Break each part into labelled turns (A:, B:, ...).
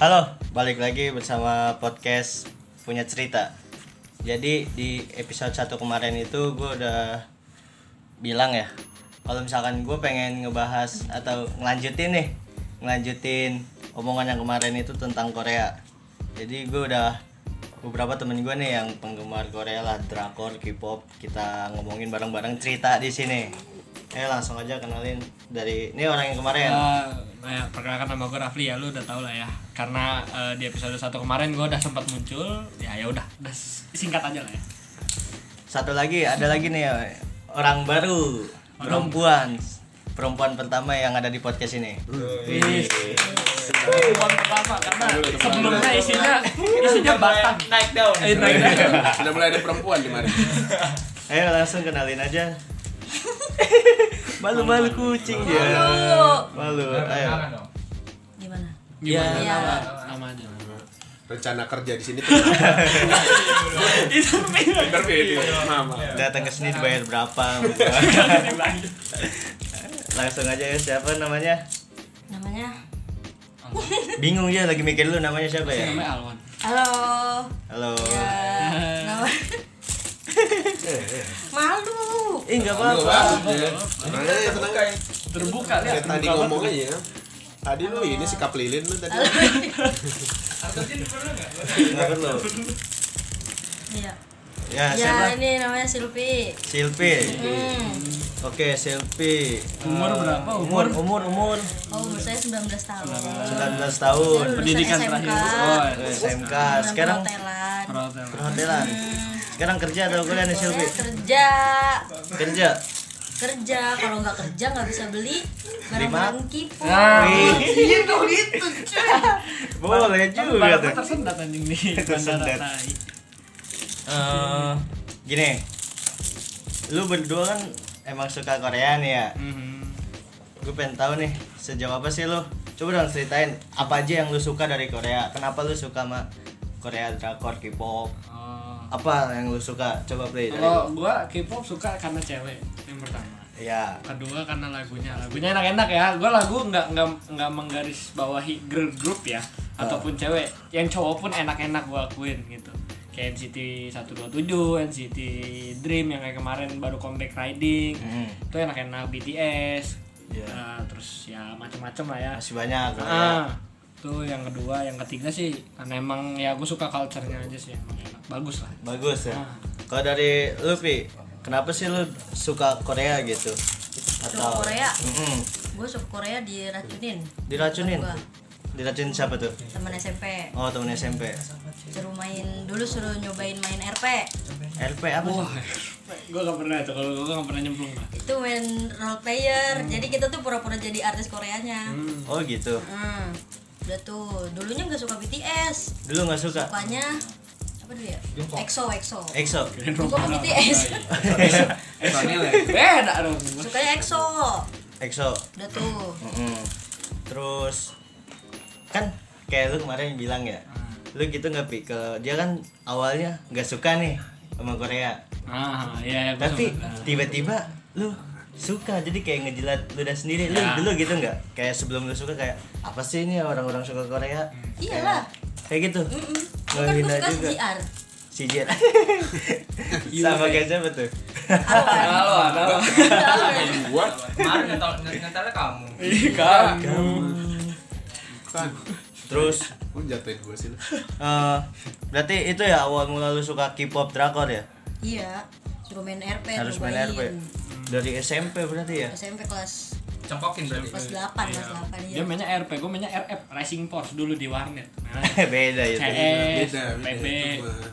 A: Halo, balik lagi bersama podcast Punya Cerita. Jadi di episode 1 kemarin itu gue udah bilang ya, kalau misalkan gue pengen ngebahas atau ngelanjutin nih, ngelanjutin omongan yang kemarin itu tentang Korea. Jadi gue udah beberapa temen gue nih yang penggemar Korea lah, drakor, K-pop, kita ngomongin bareng-bareng cerita di sini. Eh langsung aja kenalin dari ini orang yang kemarin.
B: Eh, nah ya, perkenalkan nama gue Rafli ya lu udah tau lah ya karena eh, di episode satu kemarin gue udah sempat muncul ya ya udah udah s- singkat aja lah ya
A: Satu lagi, ada lagi nih orang baru, perempuan. Perempuan pertama yang ada di podcast ini.
B: perempuan pertama karena sebelumnya isinya isinya batang naik daun eh, naik daun
C: Sudah mulai ada perempuan di mari.
A: Ayo langsung kenalin aja. Malu-malu kucing ya. Malu. Ayo.
D: gimana
B: gimana
D: Iya.
B: nama nama aja
C: Rencana kerja di sini
B: itu
C: interview iya.
B: Iya.
C: nama.
A: Datang ke sini dibayar berapa? gitu. langsung aja ya siapa namanya?
D: namanya
A: Bingung ya lagi mikir lu namanya siapa ya?
B: namanya Alwan
D: halo
A: Halo.
D: ya
A: Eh.
D: nama malu
A: Eh enggak
C: Enggak
A: apa-apa.
C: apa-apa. Eh, tenang guys.
B: terbuka
C: Saya
B: lihat
C: tadi ngomong aja ya. Tadi lu ini sikap lilin lu tadi.
A: Enggak perlu.
D: ya
A: Ya,
D: ya
A: siapa? Iya.
D: ini namanya Silvi
A: Silvi.
D: hmm.
A: Oke, Silvi.
B: Umur
A: Eh,
B: berapa?
A: Umur, umur,
B: Umur?
A: umur.
D: oh umur saya 19 tahun
A: 19 tahun.
D: Lulusan
B: pendidikan
D: SMK.
B: terakhir oh
A: Eh, SMK.
D: Dalam
A: Sekarang
D: perhotelan.
B: perhotelan
A: perhotelan. Sekarang kerja atau kuliah nih Silvi?
D: Pokoknya kerja
A: Kerja.
D: kerja kalau nggak kerja nggak bisa beli
A: Lima.
D: barang-barang kipu
A: Wih,
B: itu itu
A: boleh juga tuh.
B: tersendat anjing nih
A: Tersendat.
B: Tai.
A: Eh, gini. Lu berdua kan emang suka Korea nih ya.
B: Mhm.
A: Gue pengen tahu nih sejauh apa sih lu? Coba dong ceritain apa aja yang lu suka dari Korea. Kenapa lu suka sama Korea drakor K-pop?
B: Oh.
A: Apa yang lu suka? Coba play dari.
B: Kalau gua K-pop suka karena cewek yang pertama.
A: Iya.
B: Kedua karena lagunya. Lagunya enak-enak ya. Gua lagu nggak nggak nggak menggaris bawahi girl group ya ataupun cewek. Yang cowok pun enak-enak gua akuin gitu. Kayak NCT 127, NCT Dream yang kayak kemarin baru comeback riding.
A: Hmm,
B: Itu enak-enak BTS.
A: Iya.
B: Nah, terus ya macem-macem lah ya.
A: Masih banyak Korea.
B: Ah, itu yang kedua, yang ketiga sih karena emang ya gue suka culture-nya aja sih emang enak. Bagus lah.
A: Bagus ya.
B: Ah.
A: Kalau dari Luffy, kenapa sih lu suka Korea gitu?
D: suka Korea
A: Mm-mm.
D: gue suka Korea diracunin
A: Diracunin.
D: Gua.
A: Diracunin siapa tuh?
D: teman SMP
A: Oh, temen SMP.
D: suruh main dulu suruh nyobain main RP
A: LP apa? sih?
B: Wah, gue gak pernah tuh kalau gue gak pernah nyemplung lah.
D: itu main role player jadi kita tuh pura-pura jadi artis Koreanya hmm.
A: Oh, gitu.
D: udah tuh dulunya nggak suka BTS
A: Dulu nggak suka.
D: sukanya apa dulu ya EXO EXO
A: EXO.
D: Gua kok
B: Iya,
D: BTS
B: Beda dong.
D: sukanya EXO
A: EXO.
D: udah tuh
A: Mm-mm. Terus kan kayak lu kemarin bilang ya. Lu gitu nggak Pi? Ke dia kan awalnya nggak suka nih sama Korea.
B: Ah, iya, ya, gua
A: Tapi
B: sempet, ah.
A: tiba-tiba lu suka jadi kayak ngejilat ludah sendiri lu
B: Ya.
A: dulu gitu nggak kayak sebelum lu suka kayak apa sih ini orang-orang suka Korea
D: iyalah
A: kayak gitu
D: Mm-mm.
A: Gak
D: kan gue
A: hina
D: suka
A: juga.
D: CGR
A: si Jet sama kayak siapa tuh
B: Halo, halo.
C: Gua
E: Kemarin nyetel- nyetelnya kamu.
B: Ih, kan.
C: kan
A: terus
C: lu jatuhin gua sih lu.
A: eh, berarti itu ya awal mula lu suka K-pop drakor ya
D: iya suruh Eh, main RP
A: harus main
D: nyobain.
A: RP dari SMP berarti ya
D: SMP kelas
E: Cengkokin
D: kelas
E: berarti.
D: 8 kelas 8 iya
B: Dia mainnya RP, gue mainnya RF, Racing Force dulu di warnet. Nah,
A: beda itu
C: Eh,
B: CS,
C: Beda, beda.
B: PP.
C: Itu mah.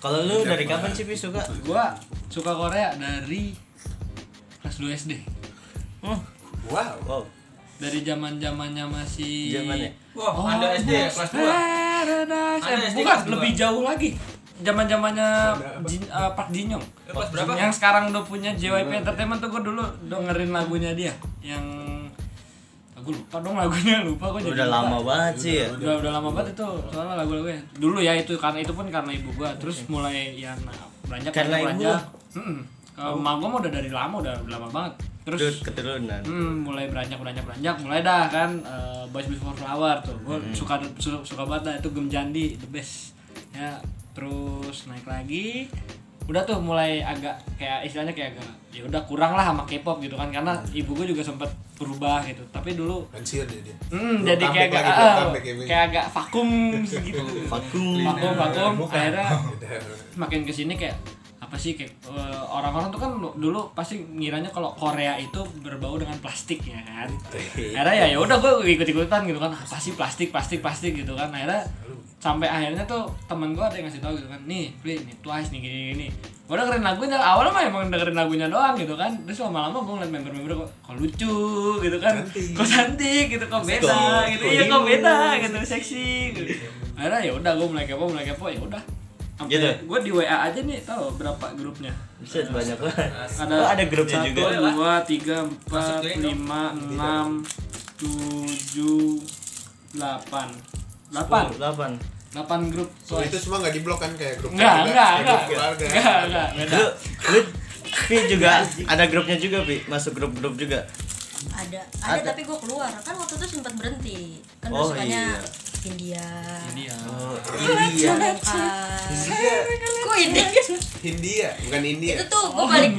A: kalau lu dari kapan sih Pi, suka
B: Gue suka Korea dari kelas 2 SD.
A: Hmm,
C: Wow.
A: wow
B: Dari zaman zamannya masih Oh,
A: Zamannya?
E: Wah, ada SD ya kelas 2. Ada
B: Paradise.
E: SD
B: Eh, Bukan,
E: kelas dua.
B: lebih jauh lagi. Zaman-zamannya Jin, eh, Park Jin Young.
E: Kelas berapa?
B: Yang sekarang udah punya JYP Entertainment tuh gue dulu dengerin lagunya dia yang gue lupa dong lagunya lupa gue jadi
A: udah
B: lupa.
A: lama banget sih ya
B: udah udah lama banget itu soalnya lagu-lagunya dulu ya itu karena itu pun karena ibu gua terus mulai ya nah, beranjak
A: Karena ibu Oh.
B: beranjak. Mm-mm. Kalau emak gua mah udah dari lama udah, udah lama banget
A: Dude,
B: terus
A: keturunan.
B: Hmm, mulai beranjak beranjak beranjak mulai dah kan eh, Boys Before Flower tuh gue
C: Hmm.
B: suka su- suka banget dah, itu Gem Jandi the best ya terus naik lagi udah tuh mulai agak kayak istilahnya kayak agak ya udah kurang lah sama K-pop gitu kan karena
C: Hmm.
B: ibu gue juga sempat berubah gitu tapi dulu
C: Anjir dia dia.
B: hmm,
C: Belum
B: jadi kayak
C: comeback
B: agak
C: lagi,
B: ah,
C: belum comeback ya, Bang.
B: kayak agak vakum gitu. segitu
A: Vakum.
B: vakum vakum
E: Bukan.
B: akhirnya
C: Udah.
B: makin kesini kayak apa sih kayak eh, orang-orang tuh kan dulu pasti ngiranya kalau Korea itu berbau dengan plastik ya kan akhirnya ya ya udah gue ikut ikutan gitu kan apa sih plastik plastik plastik gitu kan akhirnya sampai akhirnya tuh temen gue ada yang ngasih tau gitu kan nih Fli, nih twice nih gini gini gue dengerin lagunya awalnya mah emang dengerin lagunya doang gitu kan terus lama-lama gue ngeliat member-member kok kok lucu gitu kan
C: Cantik.
B: kok cantik gitu kok beda gitu iya kok beda gitu seksi gitu akhirnya ya udah gue mulai kepo mulai kepo ya udah Sampai
A: Gitu.
B: gue di WA aja nih tau berapa grupnya
A: Bisa banyak banget.
B: ada
A: Oh, ada grupnya
B: satu,
A: juga. Gitu.
B: dua tiga empat
E: Masukin dong.
B: lima enam tujuh delapan delapan
A: Delapan. Delapan.
B: delapan grup
C: So, itu
B: twice
C: semua nggak diblok kan kayak grup
B: enggak
C: keluarga,
B: enggak
C: kayak
B: enggak
C: grup keluarga.
B: enggak enggak beda
A: Lu, lu, Pi juga ada grupnya juga, Pi. Masuk grup-grup juga.
D: ada ada,
A: Ada.
D: tapi gue keluar kan waktu itu sempat berhenti kan
A: Oh,
D: oh,
A: iya.
D: sukanya India
B: Iya.
A: Oh, iya.
D: Bukan.
C: India,
D: kok India
C: Hindia, bukan India.
D: itu tuh gue balik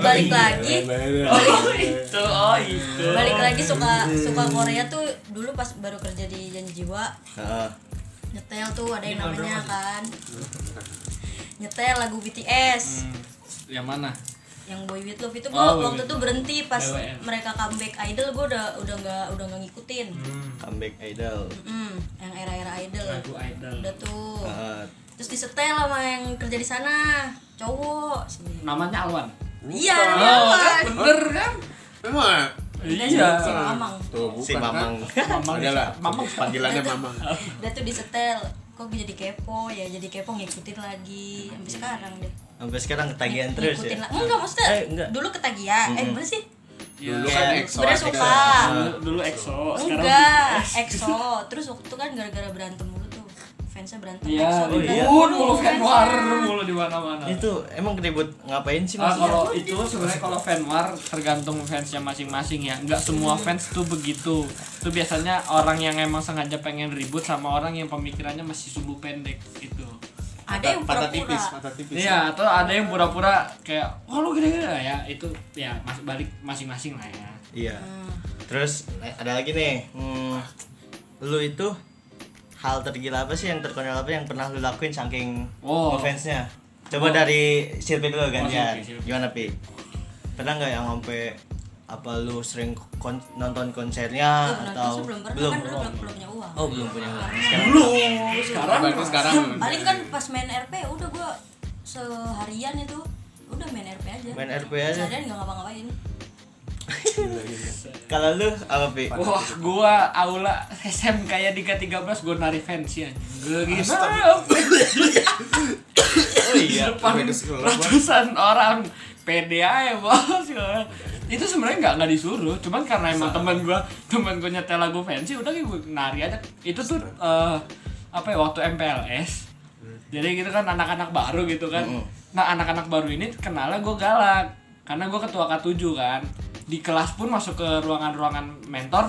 B: Iya,
D: balik lagi
B: oh itu oh itu
D: balik lagi suka
B: Iya,
D: suka Korea tuh dulu pas baru kerja di Janjiwa
A: Heeh.
D: nyetel tuh ada yang namanya kan nyetel lagu BTS
B: Hmm, yang mana
D: yang Boy With Love itu gue
B: Oh, Boy With
D: waktu itu berhenti pas
B: BWF.
D: mereka comeback idol gue udah udah nggak udah nggak ngikutin
A: Comeback Idol.
D: Mm, yang era-era idol
B: Hmm. lagu idol Ah.
D: udah tuh
A: Heeh.
D: terus disetel sama yang kerja di sana cowok sih
B: namanya Alwan
D: iya namanya apa
B: bener kan
C: Memang.
D: udah
B: Iya.
D: si mamang
C: Tuh, bukan,
A: si Mamang.
C: Kan?
B: Mamang.
C: Udah lah.
B: Mamang.
C: Panggilannya Mamang.
D: udah tuh disetel kok gue jadi kepo ya jadi kepo ngikutin lagi sampai sekarang deh
A: Sampai sekarang ketagihan Hmm. terus ya.
D: ngikutin la- enggak maksudnya
A: Eh, enggak. Hmm.
D: dulu ketagihan eh
A: Mm-mm.
D: mana sih
C: Dulu
A: Iya.
C: kan EXO.
D: Sebenarnya
C: ada.
D: suka.
B: Dulu- dulu
A: Oh,
B: EXO sekarang
D: enggak EXO terus waktu itu kan gara-gara berantem mulu tuh fansnya berantem
B: Iya,
D: EXO
A: iya.
B: ribut mulu fanwar
D: fansnya.
B: mulu di mana-mana.
A: Itu emang ribut ngapain sih,
B: Ah,
A: Mas?
B: kalau itu sebenarnya kalau fanwar tergantung fansnya masing-masing ya. Nggak semua fans tuh begitu. Itu biasanya orang yang emang sengaja pengen ribut sama orang yang pemikirannya masih sumbu pendek gitu.
D: ada yang
C: patah
D: pura-pura
C: tipis, patah tipis.
B: Iya, atau ada yang pura-pura kayak, "Wah, lu gini-gini lah ya." Itu ya mas balik masing-masing lah ya.
A: Iya.
D: Hmm.
A: Terus eh, ada lagi nih. Hmm, lu itu hal tergila apa sih yang terkenal apa yang pernah lu lakuin saking
B: Wow.
A: offense-nya? Coba dari Silpi dulu gantian.
B: Silpi, Silpi.
A: Gimana Pi? Pernah nggak yang sampai apa lu sering kon- nonton konsernya
D: Tuh, Oh, nonton
A: atau
D: sih belum pernah
A: belum?
D: kan dulu belum belum punya uang
A: Oh belum punya.
B: Dulu sekarang
C: Berarti sekarang
D: paling kan pas main RP udah gua seharian itu udah main RP aja
A: Main RP aja.
D: seharian nggak ngapa-ngapain
A: Kalau lu apa Pi?
B: Wah, gua aula SM kayak Dika 13 gua nari fans ya. Gila.
A: Oh iya.
B: depan
C: Sampai ke sekolah, Bang.
B: ratusan orang pede aja bos itu sebenarnya nggak nggak disuruh cuman karena emang teman gua teman gua nyetel lagu fancy udah gue nari aja itu tuh eh, apa ya waktu MPLS jadi gitu kan anak-anak baru gitu kan nah anak-anak baru ini kenalnya gue galak karena gue ketua K7 kan di kelas pun masuk ke ruangan-ruangan mentor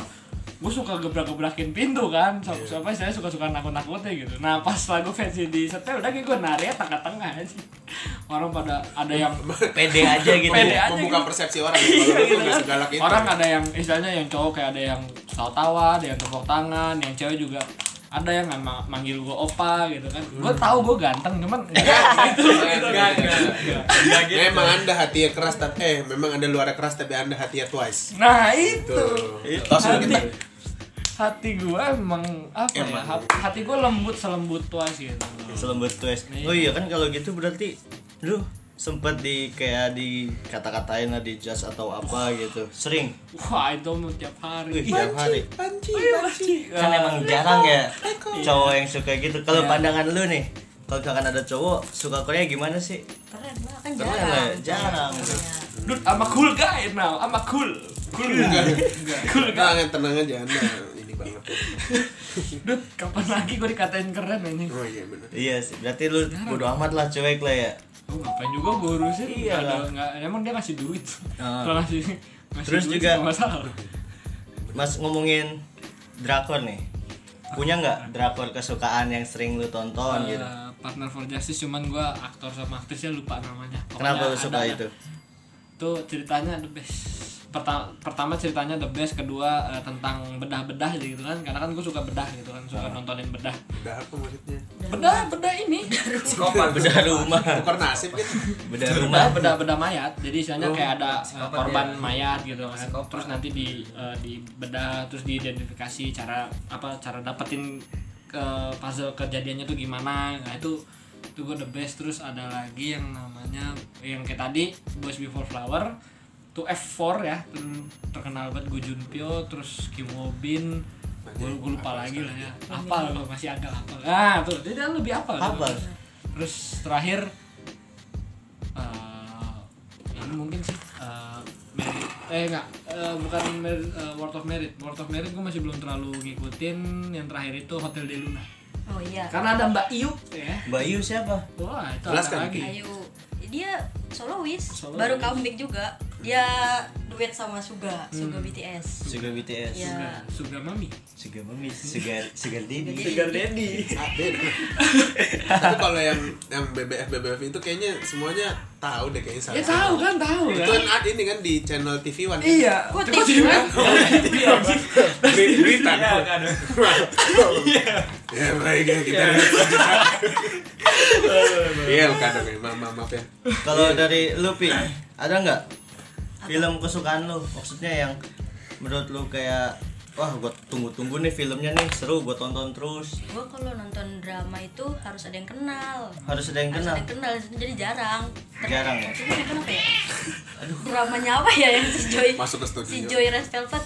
B: gue suka gebrak-gebrakin pintu kan so, siapa saya suka-suka nakut-nakutnya gitu nah pas lagu fancy di setel udah kayak gue nari tengah-tengah aja orang pada ada yang
A: Pede aja gitu.
B: Pede aja
C: membuka
B: gitu.
C: persepsi orang. Kalau lu tuh nggak segalak itu.
B: orang ada yang istilahnya yang cowok kayak ada yang tawa-tawa ada yang tepuk tangan yang cewek juga ada yang memang manggil gue opa gitu kan gue tahu gue ganteng cuman enggak gitu, gitu.
E: Enggak, enggak, enggak. Enggak gitu.
C: Memang anda hatinya keras tapi eh memang anda luarnya keras tapi anda hatinya twice.
B: nah itu
C: Tuh.
A: Itu.
C: Langsung
B: hati
C: kita
B: hati gue emang apa ya
C: Emang.
B: hati, hati gue lembut selembut tuas gitu
A: Selembut twist. Oh iya kan kalau gitu berarti lu sempat di kayak dikata-katain lah di judge atau apa gitu. Sering.
B: wah itu mau tiap hari
A: Wih, tiap hari.
C: panci.
A: Kan emang jarang ya cowok yang suka gitu. Kalau
B: Iya.
A: pandangan lu nih, kalau misalkan ada cowok suka Korea gimana sih?
D: keren lah kan
A: Keren
D: jarang
A: lah, jarang.
D: Iya.
B: dude I'm a cool guy now I'm a cool cool guy cool guy
C: Tenang tenang aja anda ini banget.
B: dude kapan lagi gue dikatain keren ini
C: Oh iya benar.
A: Iya sih. Berarti lu bodo amat lah cuek lah ya.
B: Oh, ngapain juga gue urusin
A: Iya
B: Nggak ada-
A: lah.
B: nggak- emang dia ngasih duit
A: Ah.
B: kalau ngasih Ngasih
A: Terus
B: duit
A: juga-
B: nggak masalah.
A: Mas ngomongin drakor nih. Punya nggak drakor kesukaan yang sering lu tonton gitu?
B: Eh, partner for justice cuman gua aktor sama aktrisnya lupa namanya.
A: Kenapa lu
B: Pokoknya
A: suka
B: ada-
A: itu?
B: Tuh ceritanya the best. Pertama, pertama ceritanya the best, kedua eh, tentang bedah-bedah gitu kan. Karena kan gua suka bedah gitu kan,
A: Ah.
B: suka nontonin bedah.
C: Udah apa maksudnya?
B: Bedah, bedah ini.
E: Skopan
A: Bedah rumah,
C: Bukan nasib gitu.
A: bedah rumah.
B: bedah bedah bedah mayat jadi istilahnya
E: Oh,
B: kayak ada eh,
E: psikopat
B: korban
E: ya.
B: mayat gitu kan
E: Psikopat.
B: terus nanti di eh, di bedah terus diidentifikasi cara apa cara dapetin ke puzzle kejadiannya tuh gimana nah itu itu gue the best terus ada lagi yang namanya yang kayak tadi Boys Before Flower tuh F4 ya ter- terkenal banget Gu Junpyo terus Kim Ho Bin gue lupa lagi lah ya apal gua, masih agak apal ah tuh dia dia lebih apal
A: Apal.
B: terus terakhir eh ini mungkin sih eh merit eh enggak eh, bukan merit, eh, word of merit word of merit gue masih belum terlalu ngikutin yang terakhir itu hotel de luna
D: Oh iya.
B: karena ada mbak iup ya
A: Bayu siapa?
B: wah itu
C: Jelaskan.
B: ada lagi
D: Ayu dia solois,
B: Solois.
D: baru comeback juga. Dia duet sama Suga, Suga BTS.
A: Suga BTS.
D: Iya.
B: Suga, Suga Mami
A: Suga Mami, Suga Suga Didi.
D: Sugar
B: Daddy
C: Ah, beda. Tapi kalau yang yang BBF BBF itu kayaknya semuanya tahu deh kayaknya salah.
B: ya tahu kan tahu
C: Itu
B: kan
C: kan ada ini kan di channel TV One.
B: iya
D: Kok
B: Coba
D: TV
B: sih,
D: kan?
C: Beri- Berita.
E: Iya kan.
C: Ya baik ya kita. Iya kadang ya maaf maaf maaf ya.
A: Kalau dari Lupi, ada nggak film kesukaan lu? Maksudnya yang menurut lu kayak wah gua tunggu-tunggu nih filmnya nih seru gua tonton terus
D: Gua kalau nonton drama itu harus ada yang kenal.
A: harus ada yang
D: Harus
A: kenal
D: ada yang kenal jadi jarang.
A: jarang ya
D: Cuma yang kenapa ya? Dramanya apa ya yang si Joy?
C: Masuk ke
D: si
C: studio.
D: Joy Red Velvet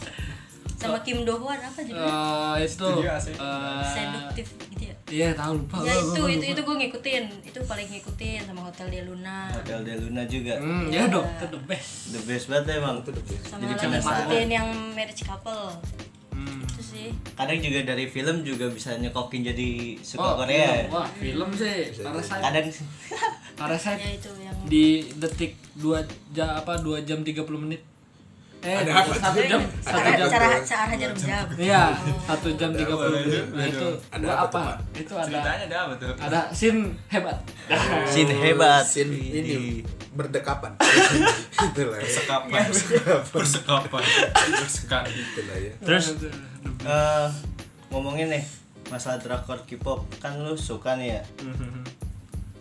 D: sama Kim Do Hwan apa judulnya?
B: Eh, itu
E: Studio AC.
B: eh,
D: Seductive gitu ya.
B: iya tahu lupa
D: Ya
B: gua,
D: itu
B: gua
D: itu
B: lupa.
D: itu gue ngikutin. Itu paling ngikutin sama Hotel de Luna.
A: Hotel de Luna juga
B: hmm ya dong itu the best
A: the best banget emang
D: Sama
A: Jadi
D: lagi
A: penasaran.
D: ngikutin yang marriage couple.
B: Hmm.
D: Itu sih.
A: kadang juga dari film juga bisa nyekokin jadi suka
B: Oh,
A: Korea ya.
B: film. Wah, film sih. Parasite.
A: kadang
B: Parasite
D: Ya itu yang
B: di detik 2 jam apa 2 jam 30 menit. Eh,
C: Ada apa?
B: 1 jam.
D: cara
B: 1 jam.
D: cara cara hajar jam.
B: Iya, 1 jam 30 menit. Nah,
C: Ada
B: itu gua
C: apa tuh,
B: apa?
C: Pak?
B: Itu ada
E: Ceritanya ada apa tuh?
B: ada scene hebat.
A: sin hebat
C: Sin
A: Di-
C: ini berdekapan. Itulah ya.
E: Sekapan. Persekapan. Persekan.
C: Itulah ya.
A: terus eh, ngomongin nih masalah drakor K-pop kan lu suka nih ya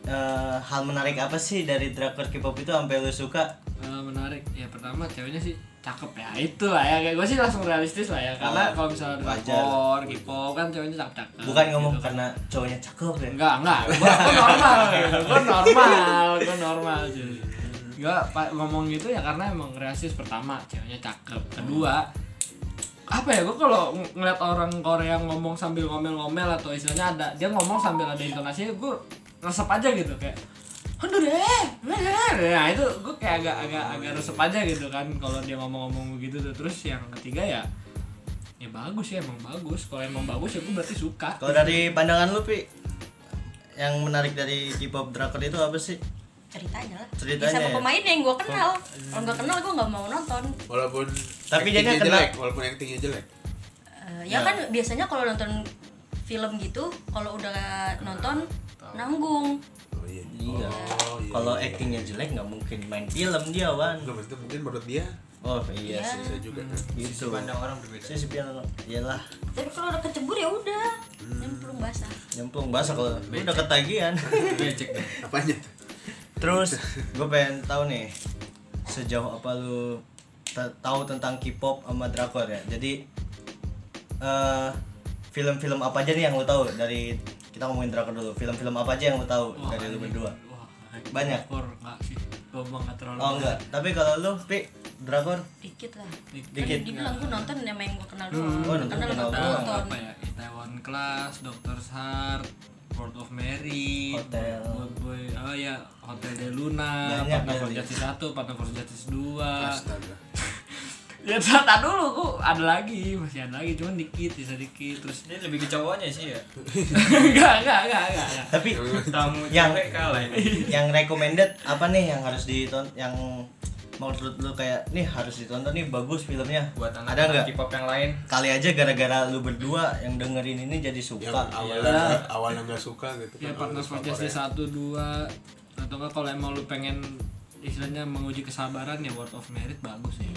A: Eh, hal menarik apa sih dari drakor K-pop itu sampai lu suka
B: Eh, menarik. Ya pertama ceweknya sih cakep ya. Itulah ya. Kayak gue sih langsung realistis lah ya.
A: Ah,
B: Karena kalau misalnya
A: wajar.
B: drakor, K-pop kan ceweknya cakep-cakep.
A: bukan ngomong
B: gitu kan.
A: karena cowoknya cakep ya
B: Enggak, enggak. Gua, gua normal. gua normal, gua normal sih. Gua pa- ngomong gitu ya karena emang realistis pertama, ceweknya cakep. Kedua, apa ya gua kalau ng- ngeliat orang Korea ngomong sambil ngomel-ngomel atau istilahnya ada dia ngomong sambil ada intonasinya gua resep aja gitu kayak Aduh deh, deh, deh." nah itu gue kayak agak agak agak resep aja gitu kan kalau dia ngomong-ngomong gitu tuh terus yang ketiga ya ya bagus ya emang bagus kalau emang bagus ya gue berarti suka
A: kalau dari pandangan lu pi yang menarik dari K-pop drakor itu apa sih
D: Ceritanya lah.
A: Ceritanya
D: Ya, sama
A: ya?
D: pemainnya yang gue kenal. Kalau nggak kenal gue nggak mau nonton.
C: Walaupun
A: Tapi dia
C: actingnya
A: kan kena-
C: jelek, walaupun actingnya jelek.
D: Eh, ya, kan biasanya kalau nonton film gitu, kalau udah nonton nanggung.
C: Oh iya.
A: iya
C: Oh, iya.
A: kalau actingnya jelek nggak mungkin main film dia wan
C: Enggak maksudnya mungkin menurut dia
A: oh iya
D: Iya.
A: sih
C: bisa juga kan.
A: gitu
E: Pandang orang berbeda.
A: sisi pandang iyalah
D: Tapi kalau udah kecebur ya udah. Nyemplung basah.
A: nyemplung bahasa kalau lu udah ketagihan
E: Becek deh.
A: Hmm.
C: Apanya?
A: terus gue pengen tahu nih sejauh apa lu te- tahu tentang K-pop sama drakor ya jadi eh, film-film apa aja nih yang lu tahu dari kita ngomongin drakor dulu film-film apa aja yang lu tahu
B: Wah,
A: dari lu
B: anjing.
A: berdua
B: Wah,
A: Banyak?
B: drakor enggak sih. Gua mah enggak terlalu.
A: oh enggak tapi kalau lu pi drakor
D: Dikit lah.
B: Dikit. Hmm.
D: Kan dibilang gue nonton sama yang gue kenal doang.
A: Oh, nonton
D: kenal
A: kenal
D: nonton
A: doang.
D: nonton.
B: apa ya? Taiwan Class, Doctor's Heart, World of Mary,
A: Hotel.
B: Boy, Boy, oh ya, Hotel de Luna,
A: Banyak
B: Partner for
A: kali.
B: Justice 1, Partner for Justice 2.
C: Astaga.
B: Ya tata dulu, gua ada lagi, masih ada lagi, cuman dikit, bisa dikit terus.
E: Ini lebih ke cowoknya sih ya.
B: Enggak, enggak, enggak, enggak. Ya, enggak.
A: tapi
E: Tamu
A: Yang-
E: Ya. cewek kalah ini.
A: yang recommended apa nih yang harus diton yang menurut lu kayak nih harus ditonton nih bagus filmnya
E: buat anak
A: ada nggak
E: K-pop yang lain
A: kali aja gara-gara lu berdua yang dengerin ini jadi suka
C: yang awalnya
B: Iya.
C: nggak- awalnya nggak suka gitu
B: ya
C: kan
B: partner
C: awalnya
B: for
C: suka
B: justice
C: Korea.
B: satu dua atau enggak kalau emang lu pengen istilahnya menguji kesabaran ya word of merit bagus ya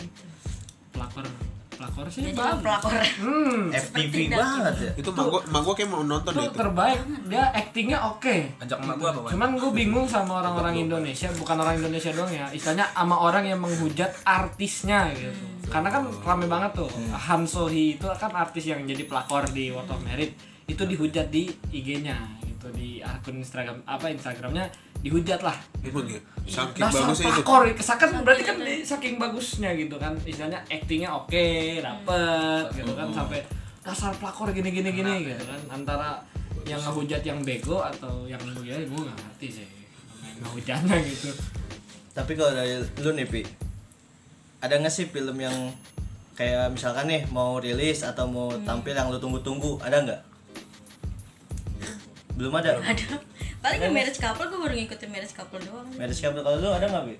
B: pelakor pelakor sih
D: Jadi
B: bagus
D: Ah, pelakor.
B: hmm
A: FTV banget ya
C: itu mak gua mak gua kayak mau nonton
B: itu
C: deh itu
B: terbaik dia actingnya oke
E: ajak emak gua apa Wan?
B: cuman gue bingung sama orang-orang Indonesia bukan orang Indonesia doang ya istilahnya sama orang yang menghujat artisnya gitu karena kan rame banget tuh Han So Hee itu kan artis yang jadi pelakor di World of Merit itu dihujat di IG-nya gitu di akun Instagram apa Instagramnya dihujat lah
C: Emang ya? saking
B: dasar
C: bagusnya itu
B: pelakor kesakan berarti kan di- saking bagusnya gitu kan istilahnya actingnya oke dapet gitu kan sampai dasar pelakor gini gini gini gitu kan antara yang ngehujat yang bego atau yang begini gue gak ngerti sih ngehujatnya gitu
A: tapi kalau dari lu nih Pi ada nggak sih film yang kayak misalkan nih mau rilis atau mau tampil yang lu tunggu-tunggu ada nggak belum ada
D: Ada. Paling yang marriage couple gue baru ngikutin marriage couple doang.
A: Marriage Couple kalau lu ada nggak Pi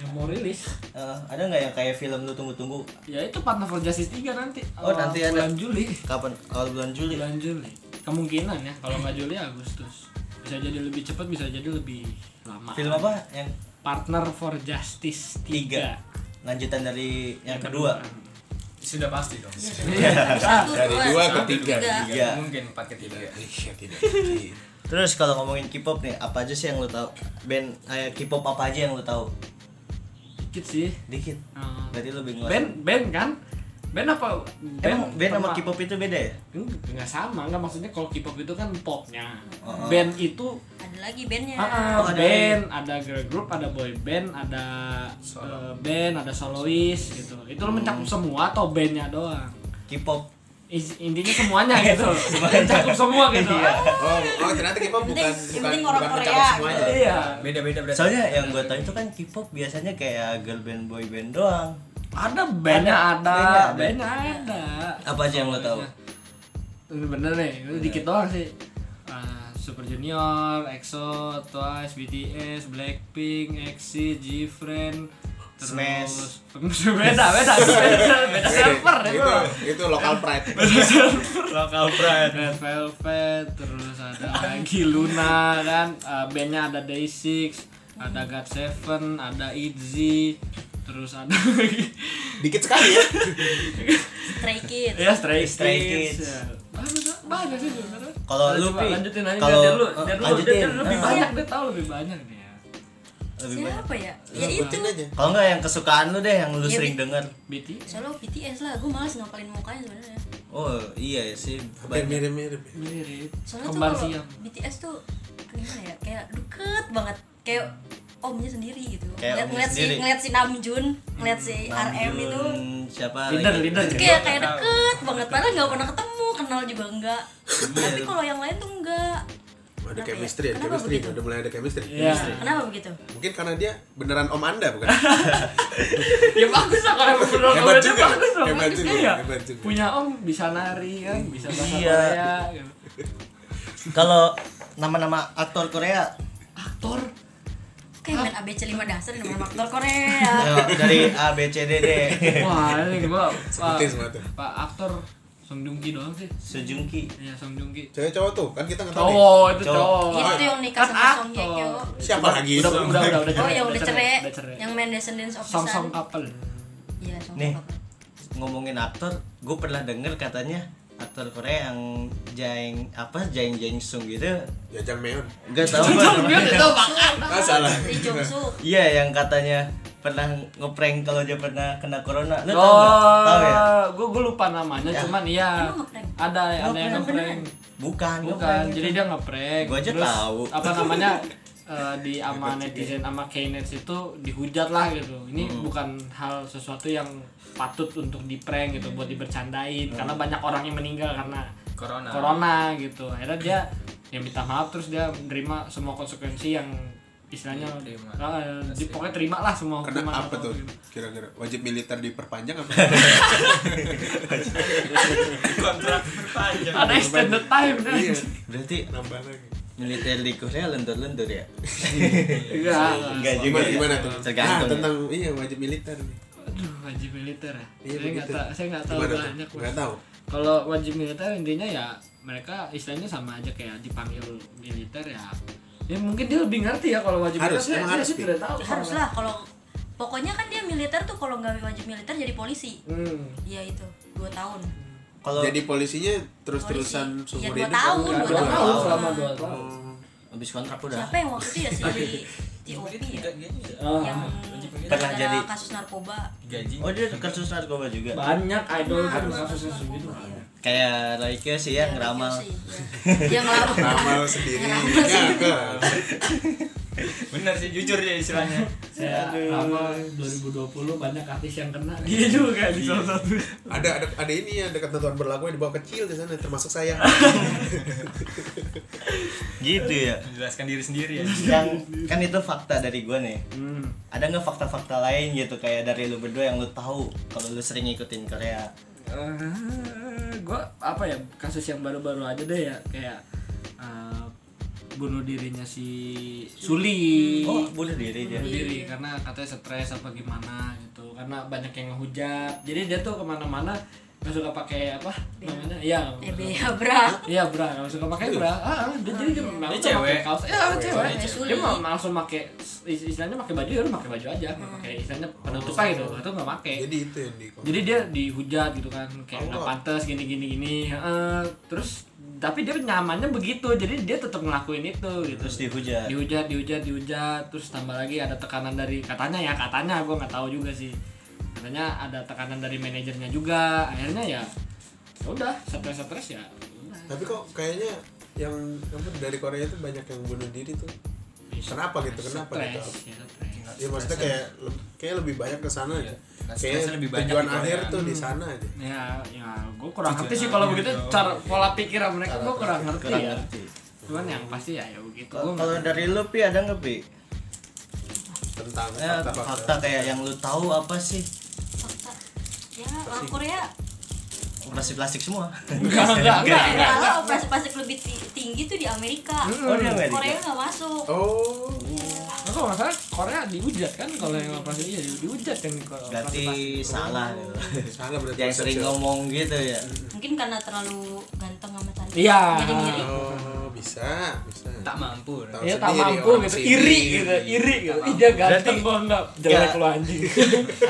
B: yang mau rilis
A: Eh, ada nggak yang kayak film lu tunggu-tunggu
B: ya itu Partner for Justice 3 nanti
A: Oh,
B: awal
A: nanti ada.
B: bulan Juli
A: kapan kalau bulan Juli
B: bulan Juli kemungkinan ya kalau nggak Juli Agustus bisa jadi lebih cepat bisa jadi lebih lama
A: film apa yang
B: Partner for Justice 3
A: tiga lanjutan dari yang kedua
E: sudah pasti dong
D: Satu,
C: dari dua ke tiga
A: Tiga.
E: mungkin empat ketiga
C: iya tidak mungkin.
A: terus kalau ngomongin K-pop nih apa aja sih yang lu tahu band kayak K-pop apa aja yang lu tahu
B: dikit sih
A: dikit
B: Hmm.
A: berarti lu bingung
B: band band kan band apa
A: emang band sama
B: tempat-
A: K-pop itu beda ya
B: Nggak, nggak sama nggak maksudnya kalau K-pop itu kan popnya
A: Oh, oh.
B: band itu
D: Ada lagi bandnya.
B: ah, ah,
A: Oh, ada
B: band ada girl group ada boy band ada
E: Solo.
B: eh, band ada solois gitu itu lo mencakup
A: Hmm.
B: semua atau bandnya doang
A: K-pop
B: Is- intinya semuanya gitu mencakup semua gitu
A: Iya.
B: Ah,
C: oh oh ternyata K-pop
D: Yang
C: bukan
D: penting- yang
C: bukan
D: penting
C: bukan
D: orang
C: mencakup
D: Korea
C: semuanya
B: iya
E: beda beda berarti
A: soalnya yang gue tahu itu kan K-pop biasanya kayak girl band boy band doang
B: ada bandnya ada
A: Bandnya ada.
B: bandnya ada
A: apa aja yang lo tahu
B: Iya. Ini bener nih, itu
A: Iya.
B: dikit doang sih. Ah, Super Junior, EXO, Twice, BTS, Blackpink, EXID, GFriend, terus
A: Smash.
B: beda beda beda beda server ya.
C: Beda.
B: itu.
A: Gitu.
C: itu itu lokal pride
A: lokal brand
B: Red Velvet, terus ada lagi Luna kan, Ah, bandnya ada Day6, ada God Seven, ada ITZY, terus ada lagi
C: dikit sekali ya
D: Stray Kids.
B: ya Stray Kids.
A: Stray Kids.
B: Ya. Bagus, bagus sih sebenarnya.
A: kalau lu
B: Coba
A: Pi,
B: lanjutin aja
A: kalau
B: biar dia dulu,
C: Oh,
A: eh,
B: biar dulu,
A: lanjutin
B: dia- dia lebih
C: Ah.
A: Eh,
B: banyak dia tahu lebih banyak nih ya.
A: lebih banyak
D: Siapa ya? Ya itu.
C: Ini aja
A: kalau nggak yang kesukaan lu deh yang lu
D: Iya,
A: sering
D: Pi.
A: denger
B: BTS.
D: Soalnya BTS lah, gue malas ngapalin mukanya sebenarnya.
A: oh iya sih
C: hampir
A: banyak
C: mirip mirip
B: Mirip.
D: Soalnya
B: Kembar
D: tuh kalau
B: siam.
D: BTS tuh gimana ya? Kayak deket banget. Kayak omnya sendiri gitu.
A: Kayak omnya
D: Ngeliat, ngeliat si
A: sendiri.
D: ngeliat si Namjoon, ngeliat si RM itu
A: Namjoon, siapa
C: Nah,
B: Leader,
A: lagi?
B: leader.
D: kayak kayak deket banget padahal nggak pernah ketemu kenal juga enggak tapi kalau yang lain tuh enggak
C: ada
D: Kenapa
C: chemistry
D: ya?
C: ada
D: Kenapa
C: chemistry
D: begitu?
C: udah mulai ada chemistry
B: Iya.
D: kenapa begitu
C: mungkin karena dia beneran om anda bukan
B: Ya bagus lah kalau ngobrol
C: Hebat
B: sama dia
C: juga,
B: bagus lah.
C: hebat
B: bagus
C: juga,
B: dia.
C: hebat juga.
B: Punya om bisa nari kan, bisa bahasa
A: Iya.
B: Korea. gitu.
A: kalau nama-nama aktor Korea
B: Aktor
D: kayak main ABC 5 dasar dengan aktor Korea
A: ayo, ya, dari A B C D D
B: Wah, ini gua Pak,
C: seperti semata
B: Pak aktor Song Joong Ki doang sih.
A: Sejung Ki
B: Iya, Song Joong Ki.
C: cewek cowok tuh kan kita nggak tahu nih.
B: Cowok itu
A: Cowok.
B: cowok.
D: itu tuh yang nikah
B: Kan
D: sama Song Hye Kyo
B: aktor.
C: siapa lagi
B: Udah, udah, udah, udah,
D: oh yang udah cerai
B: Udah cerai.
D: yang main Descendants of the
B: Song Song
D: Sun
B: couple.
D: iya Song
A: Nih.
D: Song Kap.
A: ngomongin aktor gue pernah denger katanya aktor Korea yang Jaeng apa Jaeng Jaeng Sung gitu
C: jajang meon
A: nggak tahu apa namanya.
C: ah salah
D: si Jong Soo
A: iya yang katanya pernah ngeprank kalau dia pernah kena corona lu tau nggak tahu ya
B: Oh, gue gue lupa namanya, cuman iya
D: Emang ngeprank?
B: ada ada yang
D: Ngeprank
B: ngeprank.
A: bukan
B: Bukan,
A: ngeprank. gitu.
B: jadi dia ngeprank.
A: Gua aja
B: Terus,
A: tahu.
B: Apa namanya? eh, di ama netizen ama Knets itu dihujat lah gitu. Ini
A: Hmm.
B: bukan hal sesuatu yang patut untuk diprank gitu, buat dibercandain
A: Hmm.
B: karena banyak orang yang meninggal karena
A: Nah.
E: corona
B: corona gitu. Akhirnya dia yang minta maaf terus dia menerima semua konsekuensi yang istilahnya
E: Terima.
B: eh, di pokoknya terima lah semua
C: karena
B: hukuman
C: apa
B: atau gitu.
C: tuh
B: gimana.
C: kira-kira wajib militer diperpanjang apa
E: kontrak berpanjang
B: Ada extended time dah.
C: iya
A: berarti
C: nambah lagi
A: militer di Korea lentur-lentur ya
B: Enggak.
A: Enggak juga
C: Gimana,
A: ya.
C: gimana tuh?
A: Tergantung
C: Ah,
A: ya.
C: tentang iya wajib militer nih.
B: Aduh, wajib militer ya.
C: Iya,
B: saya nggak
C: begitu.
B: tahu, saya nggak tahu
C: Gimana tuh?
B: banyak. Mas.
C: Nggak tahu.
B: Kalau wajib militer intinya ya mereka istilahnya sama aja kayak dipanggil militer ya. Ya mungkin dia lebih ngerti ya kalau wajib militer.
C: Harus,
B: Saya,
C: emang
B: saya
C: harus,
B: sih
C: Pi.
B: tidak tahu.
D: haruslah kalau pokoknya kan dia militer tuh kalau nggak wajib militer jadi polisi
B: Hmm.
D: iya itu dua tahun
A: kalau
C: Jadi polisinya terus-terusan seumur
D: Polisi. Ya, dua
C: hidup.
D: tahun,
C: apa?
B: Dua
D: dua
B: tahun,
D: tahun.
B: selama dua tahun.
C: Oh.
A: habis kontrak udah
D: siapa yang waktu itu ya si
E: Iya,
D: TOP ya
E: gitu
C: Oh.
E: Oh.
B: Ah,
D: yang
A: Pernah
D: gara-gara
A: jadi-
D: kasus narkoba
E: gaji
A: oh dia kasus narkoba juga
B: banyak idol kan
D: Nah,
B: kasusnya
D: narkoba,
B: segitu.
D: iya.
A: kayak Raike sih ya ngeramal
D: Iya, Dia ngelawan.
C: Ramal sendiri.
D: Ngeramal
C: Ya,
D: sendiri.
C: kan.
E: bener sih jujur ya istilahnya
B: Saya lama 2020 banyak artis yang kena dia juga di salah satu.
C: Ada ada ada ini ya, ada ketentuan berlaku yang di bawah kecil di sana termasuk saya.
A: gitu ya
E: menjelaskan diri sendiri ya
A: yang kan itu fakta dari gua nih
B: Hmm.
A: ada nggak fakta-fakta lain gitu kayak dari lu berdua yang lu tahu kalau lu sering ngikutin Korea
B: gue apa ya kasus yang baru-baru aja deh ya kayak eh, bunuh dirinya si Suli
A: oh bunuh diri dia
B: bunuh diri karena katanya stres apa gimana gitu karena banyak yang ngehujat jadi dia tuh kemana-mana nggak suka pakai apa namanya ya
D: EBA Eh, bra.
B: Iya bra, nggak suka pakai bra. Ah, ah, dia jadi dia malu
E: Dia
B: pakai
E: cewek.
B: kaos. Iya, dia cewek.
D: Dia
B: Dia
D: sulit.
B: mau langsung pakai is- istilahnya pakai baju, ya udah pakai baju aja, nggak pakai istilahnya penutupan gitu, atau nggak pakai.
C: Jadi itu yang di
B: Jadi dia dihujat gitu kan, kayak nggak
C: Allah.
B: pantas gini gini gini. Heeh. terus tapi dia nyamannya begitu, jadi dia tetap ngelakuin itu gitu.
A: terus dihujat
B: dihujat, dihujat, dihujat, terus tambah lagi ada tekanan dari katanya ya katanya, gue nggak tahu juga sih. Katanya ada tekanan dari manajernya juga, akhirnya ya ya udah stres-stres ya. udah.
C: Tapi kok kayaknya yang apa dari Korea itu banyak yang bunuh diri tuh. Kenapa gitu? Kenapa
B: Stres,
C: gitu?
B: ya, stres.
C: Ya maksudnya kayak kayak lebih banyak ke sana aja.
E: Nah,
C: Kayak
E: stresnya lebih banyak
C: tujuan
E: di Korea.
C: akhir tuh di sana aja.
B: ya ya gue kurang
E: Tujuan
B: ngerti sih
A: Iya,
B: kalau
E: akhir
B: begitu
E: dong.
B: cara pola pikiran mereka gue kurang ngerti
A: kurang
B: ya
A: ngerti
B: cuman yang pasti ya ya begitu
A: kalau
B: Gua
A: kalau
B: nggak-
A: dari lu pi ada nggak pi
C: Tentang
A: Ya,
C: fakta-fakta.
A: fakta kayak yang lu tahu apa sih
D: Fakta. Ya, orang Korea
A: operasi plastik semua
B: enggak enggak enggak enggak
D: malah operasi plastik lebih ti- tinggi tuh di Amerika.
A: oh dia nggak
D: Korea nggak masuk.
C: Oh,
B: Nah, kalau masalah Korea dihujat kan kalau yang operasi iya di- dihujat kan kalau
A: berarti salah gitu.
C: salah berarti.
A: yang sering
C: persepsi.
A: ngomong gitu ya
D: Mungkin karena terlalu ganteng sama cantik.
B: Iya.
D: Jadi mirip.
C: Oh, bisa, bisa.
E: tak mampu
C: Tahu
B: ya tak
C: sendiri
B: mampu
C: orang
B: gitu
C: sini.
B: iri gitu iri gitu ih dia ganteng
A: Berarti-
B: kok enggak jelek
A: Nggak.
B: lo anjing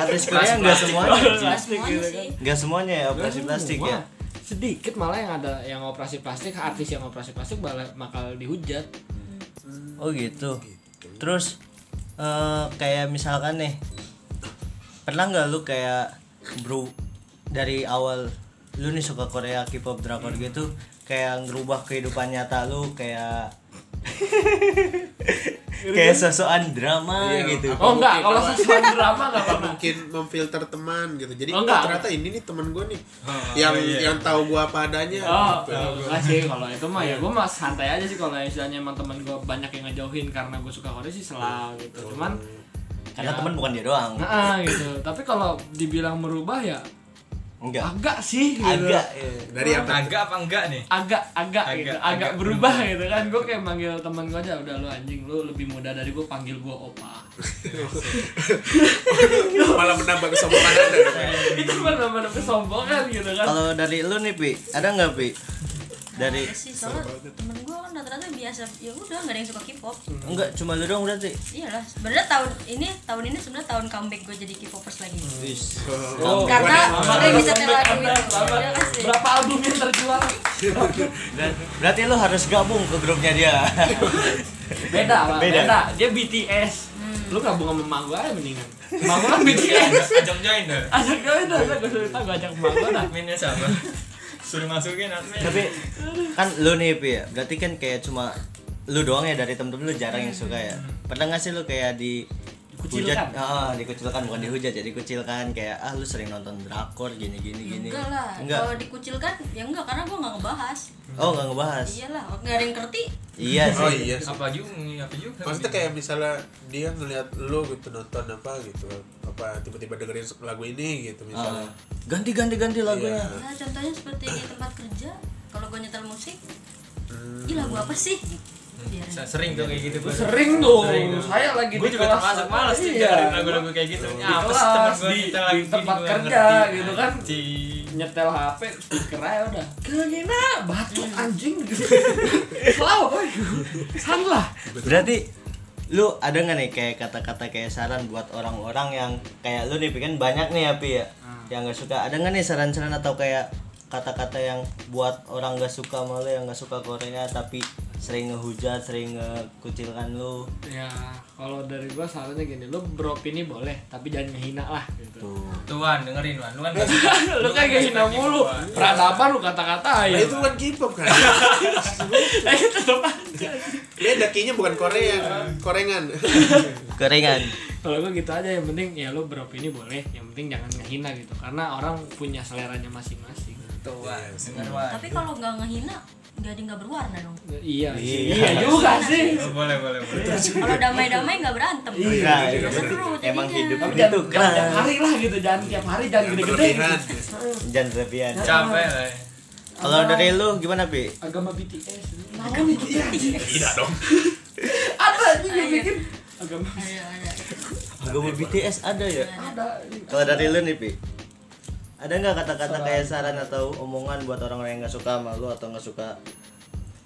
A: artis Korea nggak semuanya
D: Nggak
A: anjing.
D: semuanya sih.
A: nggak semuanya ya operasi
B: Nggak
A: plastik
B: semua.
A: ya
B: sedikit malah yang ada yang operasi plastik artis yang operasi plastik bala- bakal dihujat
A: oh gitu terus eh, kayak misalkan nih pernah nggak lu kayak bro dari awal lu nih suka Korea K-pop drakor gitu kayak ngerubah kehidupan nyata lu kayak kayak sosokan drama
C: Iya,
A: gitu
C: apa
B: oh enggak
C: mungkin
B: kalau
C: awal-
B: sesuai drama enggak pernah
C: mungkin memfilter teman gitu jadi
B: Oh,
C: oh,
B: enggak.
C: ternyata ini nih teman gue nih
E: Oh,
C: yang
E: iya.
C: yang tahu gue apa adanya
B: Oh,
C: gitu.
B: enggak sih kalau itu mah ya gue mah santai aja sih kalau misalnya emang teman gue banyak yang ngejauhin karena gue suka Korea sih selalu gitu. Cuman
A: karena
B: Ya.
A: teman bukan dia doang
B: nah gitu. Tapi kalau dibilang merubah ya
A: enggak
B: agak sih gitu.
A: Ya. agak ya.
C: Eh, dari apa
E: agak apa enggak nih
B: agak agak gitu,
E: Agak,
B: agak,
E: agak
B: berubah gitu kan gue kayak manggil teman gue aja udah lu anjing lu lebih muda dari gue panggil gue opa
C: malah menambah kesombongan anda
B: itu mah nama kesombongan gitu kan
A: kalau dari lu nih pi ada nggak pi dari
D: Nggak ada Iya sih soalnya temen gue kan rata-rata biasa ya udah nggak ada yang suka K-pop.
A: enggak cuma lu doang berarti
D: Iyalah, sebenarnya tahun ini tahun ini sebenarnya tahun comeback gue jadi K-popers lagi.
A: Wis.
B: Oh,
D: Karena
B: Selamat,
D: Korea bisa Iya
B: selamat,
D: terlalu
B: selamat.
D: Terima kasih.
B: berapa album yang terjual
A: Ber- berarti lu harus gabung ke grupnya dia
B: beda lah beda.
A: Beda.
B: dia BTS lu gabung sama emak gue aja mendingan emak gue kan
E: Iya.
B: BTS
E: ajak join deh
B: ajak gue udah udah gue cerita gue ajak emak gue dah
E: adminnya siapa suruh masukin admin
A: tapi kan lu nih Pi ya berarti kan kayak cuma lu doang ya dari temen-temen lu jarang yang suka ya pernah nggak sih lu kayak di
B: Dikucilkan.
A: hujat- ah dikucilkan bukan dihujat ya dikucilkan kayak ah lu sering nonton drakor gini gini
D: Ya
A: gini
D: enggak lah,
A: enggak
D: kalau dikucilkan ya enggak karena gue nggak ngebahas.
A: oh nggak ngebahas
D: Iyalah, nggak ada yang ngerti.
A: iya sih
C: oh iya sih.
E: apa juga apa juga
C: maksudnya kayak misalnya dia ngeliat lu gitu nonton apa gitu apa tiba-tiba dengerin lagu ini gitu
A: Ah.
C: misalnya
A: ganti ganti ganti lagunya
C: Iya.
D: Nah, contohnya seperti di tempat kerja, kalau gue nyetel musik,
C: Hmm.
D: ih lagu apa sih? Biarin.
E: Sering tuh kayak gitu
B: Gua
E: gua.
B: sering tuh.
E: Sering tuh.
B: Saya lagi
E: Gue
B: di
E: juga
B: kelas.
E: termasuk malas sih
B: Iya.
E: dengerin lagu-lagu kayak gitu. Ya,
B: Di
E: apa
B: kelas,
E: sih teman gua
B: di-
E: kita
B: di
E: lagi
B: tempat
E: gini, gua
B: kerja
E: ngerti.
B: gitu kan.
E: Anjing.
B: nyetel HP speaker aja udah kena batu anjing gitu salah boy salah
A: Berarti lu ada nggak nih kayak kata-kata kayak saran buat orang-orang yang kayak lu nih kan banyak nih ya Pi ya yang nggak suka ada nggak nih saran-saran atau kayak kata-kata yang buat orang nggak suka sama lu yang nggak suka Korea tapi sering ngehujat sering ngekucilkan lu
B: ya kalau dari gua sarannya gini lu beropini boleh tapi jangan ngehina lah gitu
A: tuh
E: Tuan, dengerin Wan. Lu kan gak suka.
B: lu kan ngehina
E: Lu
B: mulu
E: kan suka.
B: peradaban lu kata-kata
C: Nah,
B: ya
C: itu bukan K-pop kan?
B: Eh, itu tetap aja.
C: Dia dakinya bukan Korea, korengan.
A: keringan
B: kalau gua gitu aja yang penting ya lu beropini boleh yang penting jangan ngehina gitu karena orang punya seleranya masing-masing gitu
E: Tuan, denger Wan.
D: Tapi kalau nggak ngehina, jadi nggak berwarna dong.
B: iya
A: Iya.
B: sih iya juga sih
E: Oh, Boleh, boleh, boleh.
D: Kalau damai-damai nggak berantem.
A: Nah,
D: Nggak
A: iya.
D: seru
A: emang hidup
D: jadinya.
B: tapi
A: ini tuh
B: jangan, jangan tiap
A: keras
B: hari lah gitu jangan tiap hari jangan
C: Yang
B: gede-gede
C: berlebihan.
B: gitu.
A: jangan berlebihan
E: Capek lah. ya.
A: kalau dari lu gimana Pi
B: agama BTS agama BTS
C: Tidak dong.
B: ada anjing
E: Iya.
B: yang bikin agama
D: Ada, ada.
A: agama BTS ada ya
B: ada
A: Kalau dari lu nih, Pi. Ada nggak kata-kata kayak saran atau omongan buat orang-orang yang nggak suka sama lu atau nggak suka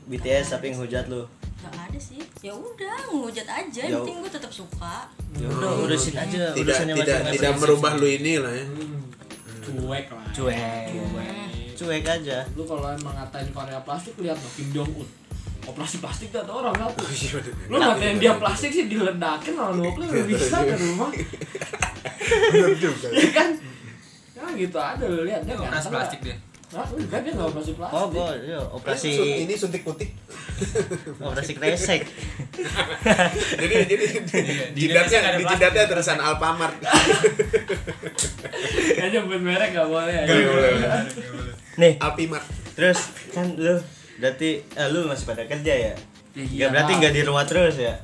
A: BTS tapi ngehujat lu?
D: Nggak ada sih. Ya udah, ngehujat aja.
A: Ya.
D: Yang penting gue tetap suka.
A: Ya udah, urusin aja.
C: Hmm. Tidak tidak tidak merubah lu inilah ya.
B: cuek lah
A: Cuek.
B: cuek
A: Cuek aja.
B: lu kalau emang ngatain Korea plastik lihat dong Kim Jong Un operasi plastik gak tau orang
C: Oh,
B: ngaku
C: iya,
B: lu ngatain dia plastik sih diledakin orang nuklir lu bisa ke rumah
C: Bener juga.
B: iya kan ya gitu ada lu lihat dia
E: Ini
B: nggak
E: Operasi
B: tahu.
E: plastik dia.
B: Hah, enggak dia nggak operasi
A: Oh,
B: plastik
A: boh, yo, operasi
C: Ini- ini suntik putih.
A: operasi kresek.
C: jadi jadi
E: di Indonesia
C: jidatnya
E: nggak ada
C: di
E: plastik.
C: jidatnya ada tulisan Alfamart.
B: ya nyebut merek gak boleh ya.
C: Nggak boleh.
E: Nggak boleh.
A: Nih,
C: Alpimart.
A: terus kan lu berarti eh, lu masih pada kerja ya?
B: iya
A: Nggak berarti
B: lah.
A: nggak di rumah terus ya?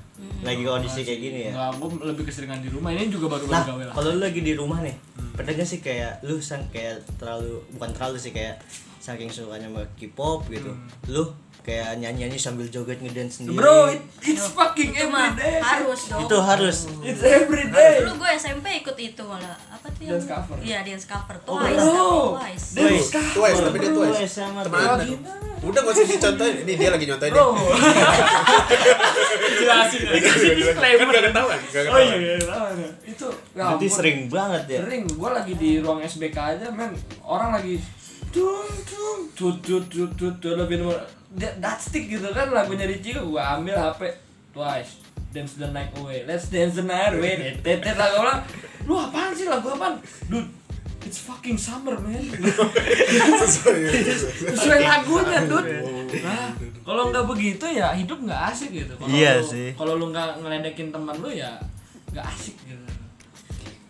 A: Lagi kondisi kayak gini ya?
B: Nggak, gue lebih keseringan di rumah ini juga baru baru
A: Nah,
B: gawe lah Hmm.
A: kalau lu lagi di rumah nih, pernah gak sih kayak lu sang kayak terlalu bukan terlalu sih kayak saking sukanya sama K-pop gitu.
B: Hmm.
A: Lu kayak nyanyi-nyanyi sambil joget ngedance sendiri.
B: Bro, it- Oh. it's fucking
D: Itu mah
B: everyday.
D: harus dong.
A: itu harus.
B: It's everyday.
D: Dulu gue SMP ikut itu malah. Apa tuh yang?
B: Dance cover.
D: Iya, dance cover.
A: Oh,
D: Twice,
A: bro.
D: tapi twice.
A: Woi,
C: Twice, tapi dia
A: bro,
C: twice.
A: sama
C: Teman
A: bro.
C: Anda dong. Udah gak usah dicontohin, ini dia lagi nyontohin
B: Bro.
C: nih.
B: Jelasin dikasih
C: Kan
B: disclaimer.
C: gak ketahuan, gak
B: Oh
C: ketahuan.
B: iya, tahu ada. Itu ya
A: Berarti
B: ampun.
A: sering banget ya.
B: Sering gua lagi di ruang SBK aja, men. Orang lagi dung dung tut tut tut tut tut lebih nomor Dia- that stick gitu kan lagunya di Ciko gua ambil HP twice dance the night away let's dance the night away tetet lagu orang lu apaan sih lagu apaan dude it's fucking summer man
C: Sorry.
B: sesuai lagunya dud nah kalau nggak begitu ya hidup nggak asik gitu kalau
A: Iya
B: lu-
A: sih.
B: kalau lu nggak ngeledekin teman lu ya nggak asik gitu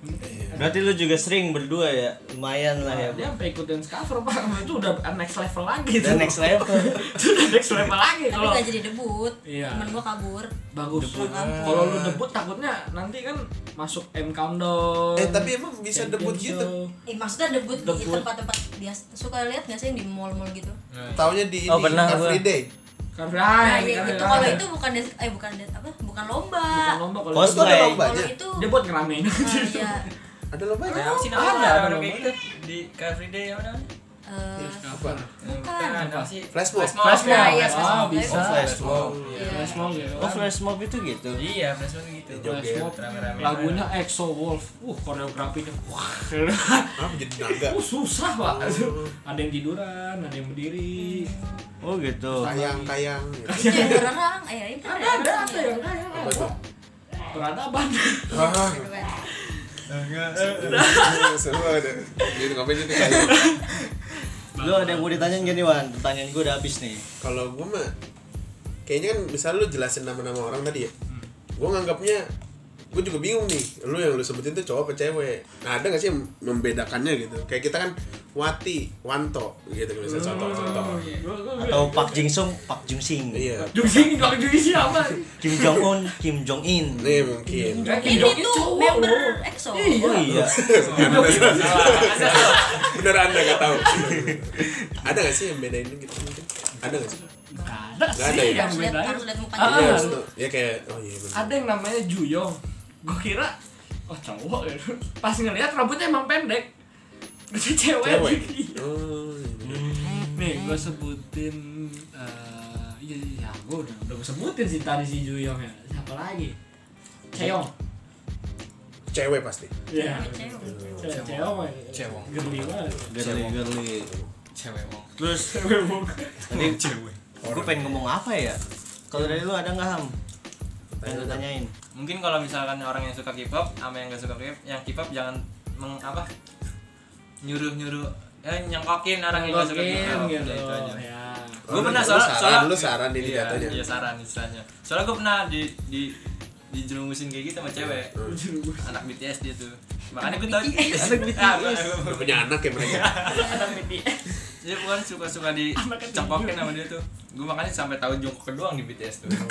B: Iya.
A: Berarti lu juga sering berdua ya. Lumayan
C: Iya.
A: lah ya.
B: dia sampai ikutin cover pak itu udah next level lagi
A: Dan next level.
B: itu udah next level lagi
D: Tapi
B: kalau
D: nggak jadi debut.
B: Iya.
D: Temen gue kabur.
B: bagus kalau lu debut takutnya nanti kan masuk M countdown
C: Eh tapi emang bisa
B: Champion
C: debut gitu.
B: Show.
D: Eh, maksudnya debut, di
B: Debut.
D: tempat-tempat biasa. Suka lihat nggak sih yang di mall-mall gitu?
B: Nah,
C: Taunya di ini
A: Oh, pernah gua.
C: everyday.
B: Cover- ah,
D: Nah, ya
B: cover-
D: gitu. Kalau itu bukan dance, eh bukan dance apa? Bukan
B: Bukan
D: lomba.
B: lomba kalau
A: Kos-
B: itu.
C: Itu ada
A: Cosplay.
D: Kalau
C: lombanya.
D: itu
B: dia gitu. buat ngeramein
D: ah, iya.
C: Ada lombanya.
E: Apa sih
B: ada, ada
E: namanya? Ada orang kayak
B: namanya.
E: gitu. Di Car Free Day apa namanya?
D: Eh,
C: Apa?
D: Bukan.
E: apa sih?
C: Flash mob.
B: Flash mob.
D: Nah, iya,
B: Ah,
D: flash mob.
B: bisa.
A: Oh, flash mob.
D: iya.
B: Flash mob gitu
A: Oh, flash mob itu gitu.
E: Iya, flash mob gitu.
C: Joget.
E: Flash mob, rame-rame.
B: lagunya EXO Wolf uh koreografinya wah
C: Ah, jadi naga.
B: uh, susah pak
C: Oh.
B: ada yang tiduran ada yang berdiri
D: Hmm.
A: Oh, gitu.
C: Kayang-kayang gitu.
D: itu yang terang, eh itu
B: ada ada ada yang kayak
C: Apa tuh?
B: peradaban
C: Ah,
D: Keren.
E: Enggak.
C: seru ada. Gitu ngapain itu kayang.
A: Lu ada yang mau ditanyain gini, Wan? Pertanyaan gua udah habis nih.
C: Kalau gua mah kayaknya kan misal lu jelasin nama-nama orang tadi ya. Gua nganggapnya gua juga bingung nih. Lu yang lu sebutin tuh cowok apa cewek. Nah, ada gak sih yang membedakannya gitu? Kayak kita kan Wati, Wanto gitu misalnya
B: Oh,
C: contoh-contoh.
B: iya.
A: Atau Pak Jingsung, Pak Jungsing,
C: Iya.
B: Jungsing juga Jungsing apa
A: Kim Jong Un, Kim Jong In.
B: Iya.
C: Nih mungkin.
D: Ini tuh member EXO.
A: Oh iya.
C: Bener Anda nggak tahu. ada nggak sih yang bedain gitu? Ada nggak sih?
B: Gak ada
C: Nggak ada
B: sih
C: ya?
B: yang
D: Harus lihat-
B: bedain.
D: harus lihat mukanya.
B: Iya, Ah,
C: Iya,
B: ah,
C: harus tuh. Iya kayak oh iya bener.
B: ada yang namanya Juyong gue kira oh cowok ya pas ngeliat rambutnya emang pendek itu cewek,
C: Cewek.
B: Iya.
C: Oh, iya bener.
B: nih gue sebutin eh, iya iya gue udah udah gue sebutin sih tadi si Juyong ya siapa lagi Cheong
C: Cewek pasti.
B: Iya.
D: Cewek, cewek.
B: Cheong Cheong mah
E: Cewong.
B: geli banget
A: girly girly
E: Cewek wong.
A: terus
B: cewek mau
A: tadi
E: Cewek.
A: gue pengen ngomong apa ya kalau dari lu ada nggak ham pengen lu tanyain
E: Mungkin kalau misalkan orang yang suka K-pop sama yang gak suka K-pop, yang K-pop jangan meng apa? Nyuruh-nyuruh eh nyengkokin orang yang gak suka
B: Mungkin
E: K-pop.
B: gitu
E: Udah itu aja.
B: ya
E: Gua
C: Oh,
E: pernah
C: lu
E: soal-
C: saran,
E: soal-
C: lu saran ini
E: iya,
C: jatuhnya.
E: Iya, saran istilahnya. Soalnya gue pernah di di dijerumusin kayak gitu sama cewek. Anak BTS dia tuh. Makanya gue tahu
D: BTS.
E: anak BTS.
C: Udah punya anak ya mereka.
E: Dia bukan suka-suka dicekokin sama dia tuh. Gue makanya sampai tahu jongkok doang di BTS tuh.
C: Nah,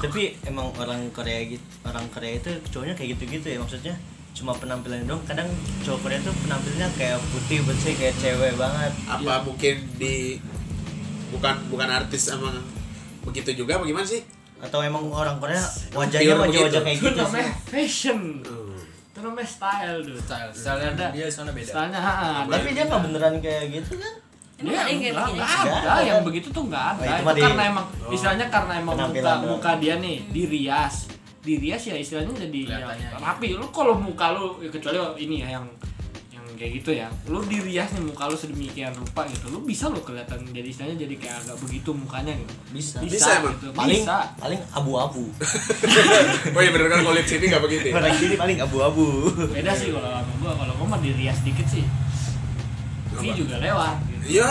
A: tapi emang orang Korea gitu orang Korea itu cowoknya kayak gitu-gitu ya maksudnya cuma penampilan doang kadang cowok Korea tuh penampilannya kayak putih bersih kayak cewek banget
C: Apa mungkin di bukan bukan artis sama begitu juga bagaimana sih?
A: atau emang orang Korea wajahnya
C: Pure
A: wajah-wajah
C: begitu.
A: kayak
B: itu
A: gitu sih
B: namanya fashion
C: Hmm.
B: itu namanya style dude
E: Style, style
B: Ada.
E: dia soalnya beda.
B: stylenya ha, ha, ada
A: tapi dia nggak beneran kayak gitu kan
D: Emang ada yang kayak
B: enggak,
D: begini?
B: enggak ada,
A: Enggak.
B: yang begitu tuh enggak ada.
A: Oh, itu
B: itu
A: mah di-
B: karena emang istilahnya karena emang muka,
A: Penampilan doang.
B: muka dia nih dirias. Dirias ya istilahnya jadi yang
E: Kelihatannya.
B: rapi. Lu kalau muka lu ya kecuali ini ya yang yang kayak gitu ya. Lu dirias nih muka lu sedemikian rupa gitu. Lu bisa lo kelihatan jadi istilahnya jadi kayak agak begitu mukanya gitu.
A: bisa
B: Bisa,
C: Bisa emang?
B: gitu.
A: paling
B: Bisa.
A: paling abu-abu
C: Oh iya bener kan kulit sini nggak begitu. ya?
A: orang sini paling abu-abu
B: Beda sih kalau sama gua, kalau gua mah dirias dikit sih. Vi
C: Apa?
B: juga lewat gitu.
C: Ya,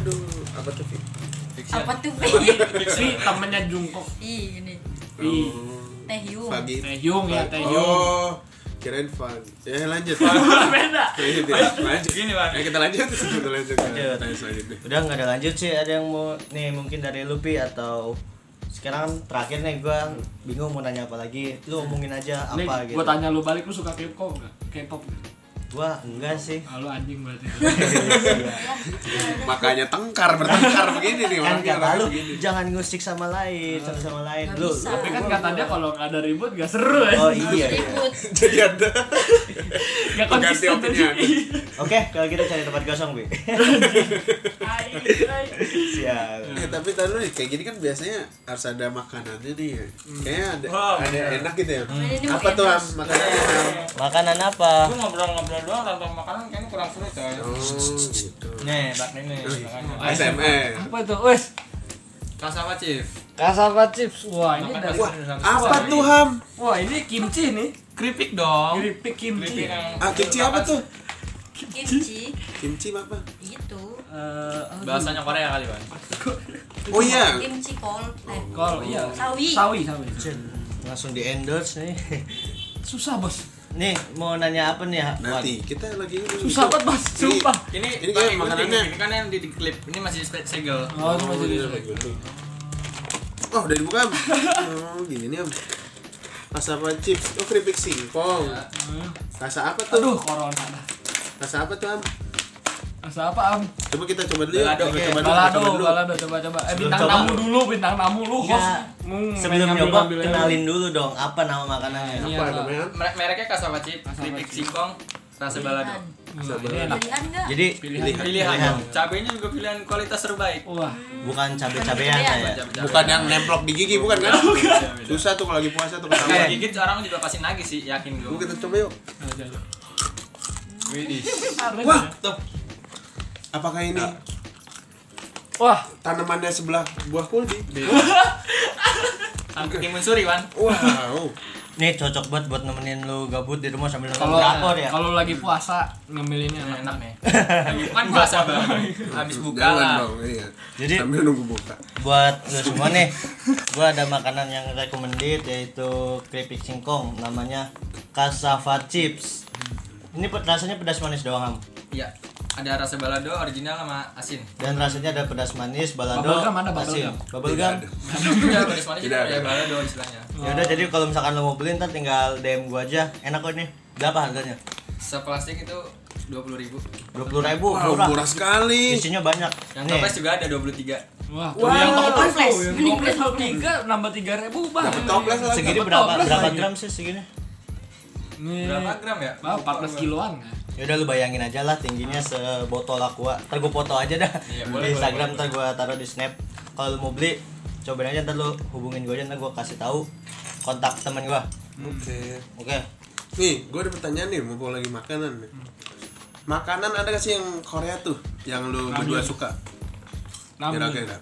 C: aduh, apa tuh? Fi?
E: Fiction.
D: Apa tuh?
B: Iya, Vi temennya Jungkook.
D: Ih, ini.
B: Vi.
C: Oh,
D: Taehyung.
C: Pagi.
B: Taehyung ya, Taehyung.
C: Oh, kirain fun. Ya lanjut.
B: Beda.
C: Lanjut, ya. lanjut.
E: Gini, Bang.
C: Ayo kita lanjut, kita lanjut.
A: Lanjut.
C: Tanya selanjutnya.
A: udah nggak ada lanjut sih ada yang mau nih mungkin dari Lupi atau sekarang terakhir nih gue bingung mau nanya apa lagi lu omongin aja
B: Nih,
A: apa gitu
B: Gua tanya lu balik lu suka K-pop enggak? K-pop nggak?
A: gue enggak sih
B: Ah, lu anjing berarti.
D: Iya,
C: Makanya tengkar bertengkar begini nih
A: kan kata
C: orangnya,
A: lu
C: orangnya begini.
A: jangan ngusik sama lain sama sama lain
D: Nggak
A: lu
D: bisa.
B: Tapi kan kata dia kalau nggak ada ribut nggak seru ya.
A: oh iya iya.
D: Ribut.
C: Jadi ada.
B: Nggak
C: Ganti
B: konsisten
C: opini aku.
A: oke kalau gitu cari tempat kosong bi
B: Ai, ai.
A: siap
B: Iya.
C: Ya, tapi tadi lu kayak gini kan biasanya harus ada makanannya nih. ya. Kayaknya ada,
E: Wow,
C: ada
E: bener.
C: enak gitu ya.
D: Ini dia
C: Apa tuh
D: mau
C: Am?
D: endorse.
C: makanannya? Am?
A: makanan apa
E: Gue ngobrol-ngobrol doang tanpa makanan kayaknya kurang seru coy.
C: Oh, gitu.
E: Nih, bak ini makanya.
C: ASMR.
B: Apa itu? Wes,
E: Kas sama Chief.
B: cassava chips. Wah, ini
E: Makan
B: dari
E: apa?
C: Wah, apa tuh Ham? Ah,
B: Wah, ini kimchi nih.
E: Keripik dong.
B: Keripik kimchi. Eh,
E: Keripik yang
C: Ah, kimchi apa tuh?
D: Kimchi. Gitu.
C: Kimchi apa?
D: Itu.
B: aduh.
E: Bahasanya Korea kali, Bang.
C: Oh iya.
D: Kimchi kol. Eh,
B: kol iya.
D: Sawi.
B: Sawi, sawi.
A: Cen, langsung di endorse nih
B: Susah, Bos.
A: nih mau nanya apa nih Ha?
C: Nanti kita lagi
B: Susah banget, Bos. Sumpah.
E: Ini
C: Ini
E: Bang,
C: kayak
E: ikutin.
C: makanannya.
E: Ini kan yang di, di klip. Ini masih se- segel.
B: Oh, cuma
C: Oh,
B: jadi
C: iya, kayak gitu. Oh, udah dibuka. Am. Oh, gini nih, Am. Rasa apa chips? Oh, keripik singkong. Rasa apa
B: Aduh,
C: tuh?
B: corona dah.
C: Rasa apa tuh, Am?
B: Rasa apa, Am?
C: Coba kita coba dulu ya.
E: Balado,
C: Kita
E: oke.
C: coba dulu, kita
B: Balado,
C: coba dulu.
B: balado coba coba. Eh
A: Sebelum
B: bintang
A: coba.
B: tamu dulu, bintang tamu lu host.
A: Enggak.
B: Hmm,
A: sebelum
B: ngambil-
A: nyoba
B: ngambil- Nah,
A: kenalin dulu dong apa nama makanannya
B: Iya,
C: Apa
B: Pak.
C: namanya? Am?
E: Mere- Mereknya kas sama Chief,
B: Kas sama
E: keripik
B: Chief.
E: singkong, rasa balado.
B: Wah, ini
C: Sabar.
B: enak.
D: Kan. Pilihan enggak?
A: jadi
B: Pilihan.
C: Pilihan.
E: Pilihan
A: Pilihan.
E: dong. Cabenya juga pilihan kualitas terbaik.
B: Wah,
A: bukan cabe-cabean ya
E: Cabe-cabe.
C: Bukan yang nemplok di gigi, bukan kan?
E: Beda-beda.
C: Susah tuh kalau lagi puasa tuh
E: Kayak
C: ketawa.
E: gigit orang juga pasti nagih sih, yakin
C: Coba
E: gue.
C: kita coba yuk.
E: Widih.
B: Wah.
E: Tuh,
C: Apakah ini
B: Wah,
C: tanamannya sebelah buah kuldi?
E: sampai timun suri, Wan.
C: Wow.
A: nih cocok banget buat nemenin lu gabut di rumah sambil nonton
B: kalau
A: drakor ya
B: kalau lagi puasa ngambil ini enak.
E: Enak nih. Bukan puasa, Bang. Habis buka
C: Jangan
E: lah.
C: dong, iya.
A: Jadi-
C: sambil nunggu buka.
A: buat lu semua nih gua ada makanan yang recommended yaitu keripik singkong namanya cassava chips ini pe- rasanya pedas manis doang Ham.
E: Iya, ada rasa balado original sama asin.
A: dan rasanya ada pedas manis balado
B: Bubblegum ada,
A: asin
C: Tidak
A: bubblegum
C: ada.
E: Udah manis manis
C: Tidak
E: ya
C: ada.
E: balado istilahnya.
A: ya udah jadi kalau misalkan lo mau beli ntar tinggal dm gua aja enak kok ini berapa harganya
E: Seplastik itu 20.000.
A: dua puluh ribu Oh,
C: Wow,
A: murah
C: murah sekali.
A: isinya banyak
E: Yang
A: nih
E: toples juga ada 23.
B: Wah, tuh
D: Wah,
B: yang toples
D: toples.
B: tuh, yang
D: Mending
B: toples
D: beli
B: kalau tiga nambah tiga ribu bang.
C: Dapet toples lah.
A: segini
B: Dapet
A: berapa
B: toples
A: berapa
B: lagi.
A: gram sih segini
B: Nih,
E: Berapa gram ya?
B: Bang, 14 kiloan kan? nggak?
A: Yaudah lu bayangin aja lah tingginya sebotol aqua Ntar gue foto aja dah
E: Hmm. Iya, boleh, boleh,
A: Di Instagram
E: boleh,
A: ntar gue taruh di snap Kalau lu mau beli cobain aja ntar lu hubungin gue aja ntar gue kasih tahu kontak temen gue
C: Oke.
A: Oke
C: Nih, gue ada pertanyaan nih, mumpung lagi makanan nih. Makanan ada gak sih yang Korea tuh yang lu berdua suka?
B: Ramyun.
C: Kira-kira.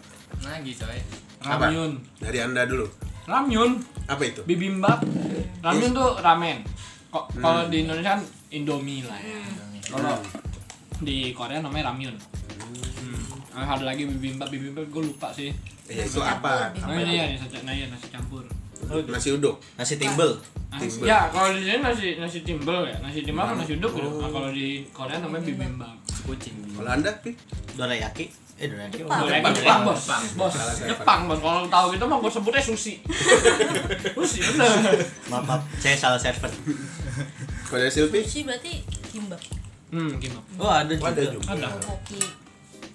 E: Nagi coy.
C: Apa?
B: Ramyun.
C: Dari Anda dulu.
B: Ramyun.
C: Apa itu?
B: Bibimbap. Ramyun tuh ramen. Kok kalau di Indonesia kan Indomie lah ya. Kalau di Korea namanya ramyun. Hmm. Ada lagi bibimbap, bibimbap gue lupa sih.
C: Ya itu apa?
B: Nah, ini ya nasi, nah, iya, nasi campur.
C: Nasi uduk.
A: Nasi timbel
B: Nasi, ya kalau di sini nasi nasi timbel ya nasi timbel kan nasi uduk gitu. Nah, kalau di Korea namanya bibimbap.
E: Kucing.
C: Kalau Anda, Pi?
A: dorayaki Eh dorayaki
D: Jepang.
B: Jepang,
E: Jepang,
B: Jepang, bos,
E: Jepang.
B: bos,
C: Salah saya,
B: Jepang bos. Kalau tahu gitu mah gue sebutnya sushi. sushi bener.
A: Maaf maaf saya salah server
C: Kalau dari Silpi?
D: Sushi berarti kimbab.
B: Hmm, gimana?
A: Oh ada
C: Oh, ada
A: juga
C: juga.
B: Ada.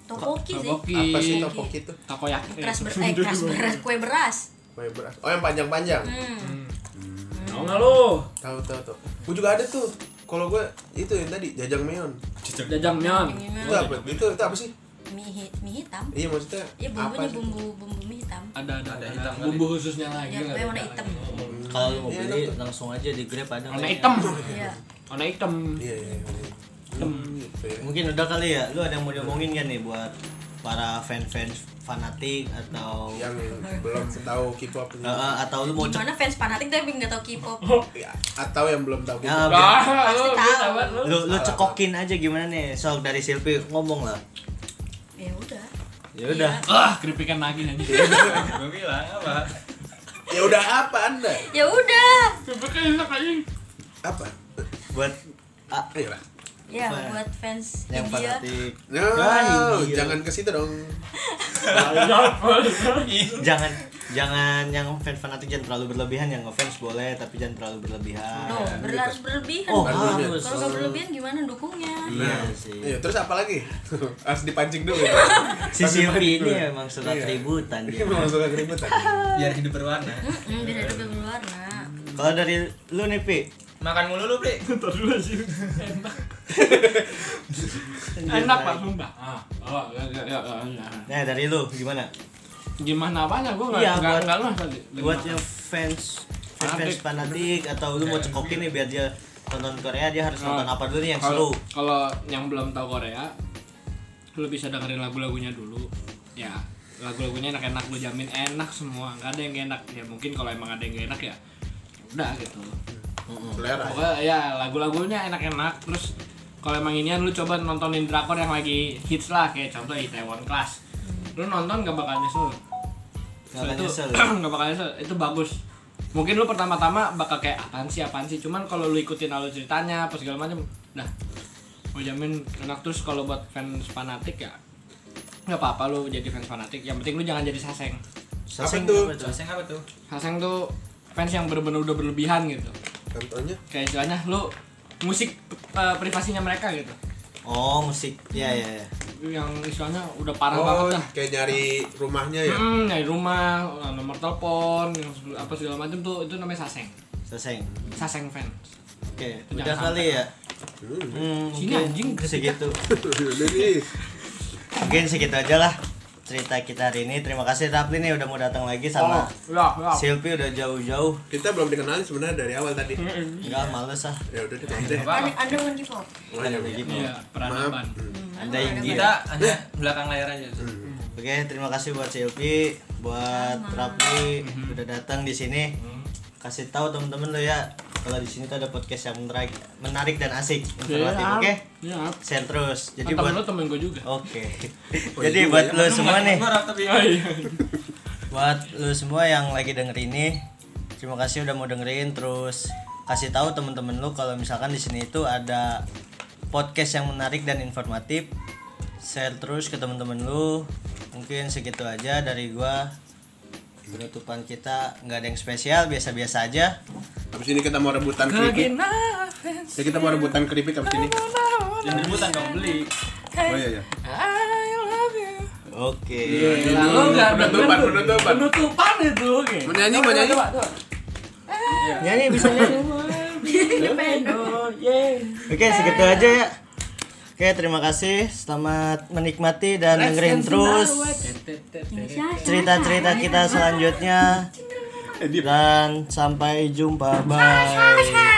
D: Tokoki. Tokoki sih.
B: Takoyaki.
C: Apa sih topoki itu?
B: Takoyaki.
D: Keras ber eh keras beras kue beras.
C: Kue beras. Oh, yang panjang-panjang.
D: Hmm.
B: Tahu nggak lu?
C: Tahu tahu tahu. Gue juga ada tuh. Kalau gue itu yang tadi jajangmyeon.
B: Jajangmyeon.
D: Iya.
C: Itu apa? Itu itu apa sih?
D: Mie, hi- mie hitam.
C: Iya maksudnya
D: Iya
C: apa
D: bumbunya
C: sih?
D: bumbu bumbu mie hitam.
B: Ada ada
E: Ada
B: ada.
E: hitam kali.
B: Bumbu khususnya lagi.
D: Ya,
B: nggak
D: pokoknya
B: ada.
D: warna hitam.
A: Kalau lu mau
C: Iya,
A: beli
C: enak
A: langsung aja di Grab ada
B: Warna
A: kayaknya.
B: hitam.
D: Iya.
B: Warna hitam.
C: Iya iya. iya. Hmm, gitu ya.
A: Mungkin udah kali ya Lu ada yang mau diomongin kan nih buat para fans-fans fanatik atau
E: Iya.
C: Yang belum tahu K-pop ini.
A: Eh, eh, atau lu mau Oh.
D: Gimana fans fanatik tapi nggak tahu K-pop?
C: Ya, atau yang belum tahu
A: Ya,
C: K-pop.
A: biar-
B: Ah, lu
D: Pasti
B: tahu.
D: tahu.
B: lu.
A: lu lu cekokin aja gimana nih sok dari Silvi ngomong lah
D: Ya udah.
A: ya udah
B: Ah, keripikan lagi nanti.
E: Gue bilang apa?
C: Ya udah apa Anda?
D: Ya udah.
B: Keripikan enak aja.
C: Apa?
A: buat ah,
C: Ayolah.
D: Ya
A: Apa ya?
D: buat fans
A: yang
D: India.
A: fanatik
C: No,
A: Ah, iya.
C: jangan ke situ dong.
A: jangan jangan yang fans fanatik jangan terlalu berlebihan yang ngefans boleh tapi jangan terlalu berlebihan
D: No, berla- harus berlebihan.
A: Iya, oh
D: Kalau
C: Harus.
A: harus
D: nggak berlebihan gimana dukungnya?
A: iya
C: Nah.
A: sih
C: Iya, terus apa lagi? Harus dipancing dulu.
A: si Silvi ini emang suka
C: Iya.
A: keributan
C: Ini
A: dia
C: mau suka keributan.
E: Biar hidup berwarna.
D: Hmm, biar ada
A: Iya.
D: berwarna.
A: kalau dari lu nih pi
E: Makan mulu lu, Pri.
B: Bentar dulu sih. Enak. Enak pak sumpah. Ah, oh, ya, ya, ya, ya.
A: nah dari lu gimana
B: Gimana apanya gue nggak
A: Iya,
B: nggak
A: buat-
B: nggak ngerti. Lagi
A: buat
B: makan.
A: yang fans fans,
B: Fanatik.
A: fanatik atau lu mau cekokin nih biar dia nonton Korea dia harus
C: Nah.
A: nonton apa dulu nih yang seru
B: kalau kalau yang belum tahu Korea lu bisa dengerin lagu-lagunya dulu ya lagu-lagunya enak-enak lu jamin enak semua nggak ada yang gak enak ya mungkin kalau emang ada yang gak enak ya ya udah gitu
C: Selera.
B: pokoknya ya lagu-lagunya enak-enak terus kalau emang inian lu coba nontonin drakor yang lagi hits lah kayak contoh Itaewon Class lu nonton gak bakal nyesel
A: Nggak akan
B: itu
A: nyesel.
B: nggak bakal nyesel itu bagus mungkin lu pertama-tama bakal kayak apaan sih apaan sih cuman kalau lu ikutin alur ceritanya apa segala macam nah gue jamin enak terus kalau buat fans fanatik ya nggak apa-apa lu jadi fans fanatik yang penting lu jangan jadi saseng
A: Saseng
C: tuh?
A: apa tuh?
E: Joseng apa tuh?
B: saseng tuh fans yang bener-bener udah berlebihan gitu
C: Contohnya
B: kayak istilahnya lu musik eh, privasinya mereka gitu
A: oh musik ya ya, ya.
B: yang istilahnya udah parah
C: Oh,
B: banget dah
C: kayak nyari rumahnya ya.
B: Hmm, dari rumah, nomor telepon, yang segala- apa segala macam tuh itu namanya saseng.
A: Saseng.
B: Saseng fans.
A: Oke,
B: Jangan
A: udah
B: sampai.
A: kali ya.
C: Hmm.
A: Hmm,
B: Sini
A: mungkin
B: anjing, gerak
A: segitu.
C: Udah nih.
A: Mungkin segitu aja lah cerita kita hari ini. Terima kasih Rapli nih udah mau datang lagi sama
B: Oh, ya, ya.
A: Silpi udah jauh-jauh.
C: Kita belum dikenalin sebenarnya dari awal tadi.
A: Enggak males ah.
C: Ya udah deh, maaf deh.
E: Apa?
D: Anda anda bukan K-pop.
C: Oh,
A: Kan
C: ya,
A: udah gitu.
B: Iya, peradaban.
C: Maaf. Mm.
D: Hmm,
A: Anda
D: ada
A: India.
E: Kita hanya belakang layar aja. Sus.
A: Oke, terima kasih buat Silpi, buat Rapli
B: Mhm.
A: udah datang di sini. Kasih tahu temen-temen lo ya kalau di sini tuh ada podcast yang menarik, menarik dan asik, informatif.
B: Iya.
A: Oke,
B: Iya.
A: share terus.
B: Jadi
A: Jadi buat
B: lu temen gue juga.
A: Oke.
C: Oh,
A: Jadi
C: iya
A: buat
C: juga
A: lo semua nih.
E: Gua rap tapi.
B: Oh, iya.
A: buat lu semua yang lagi denger ini terima kasih udah mau dengerin terus kasih tahu temen-temen lu kalau misalkan di sini itu ada podcast yang menarik dan informatif share terus ke temen-temen lu mungkin segitu aja dari gua penutupan kita nggak ada yang spesial biasa-biasa aja
C: Habis ini kita mau rebutan keripik.
B: nah,
C: Ya kita mau rebutan keripik habis ini.
E: Jangan rebutan dong, beli.
C: Oh iya iya.
B: I love you.
A: Oke.
B: Gila, lu nggak ada
C: Penutupan,
B: bener.
C: penutupan.
B: Penutupan itu. oke.
C: Menyanyi,
B: Coba,
C: menyanyi.
B: coba, coba.
A: Nyanyi bisa nyanyi. Oke, segitu aja ya. Oke, terima kasih. Selamat menikmati dan dengerin terus cerita-cerita kita selanjutnya. Dan sampai jumpa. Bye.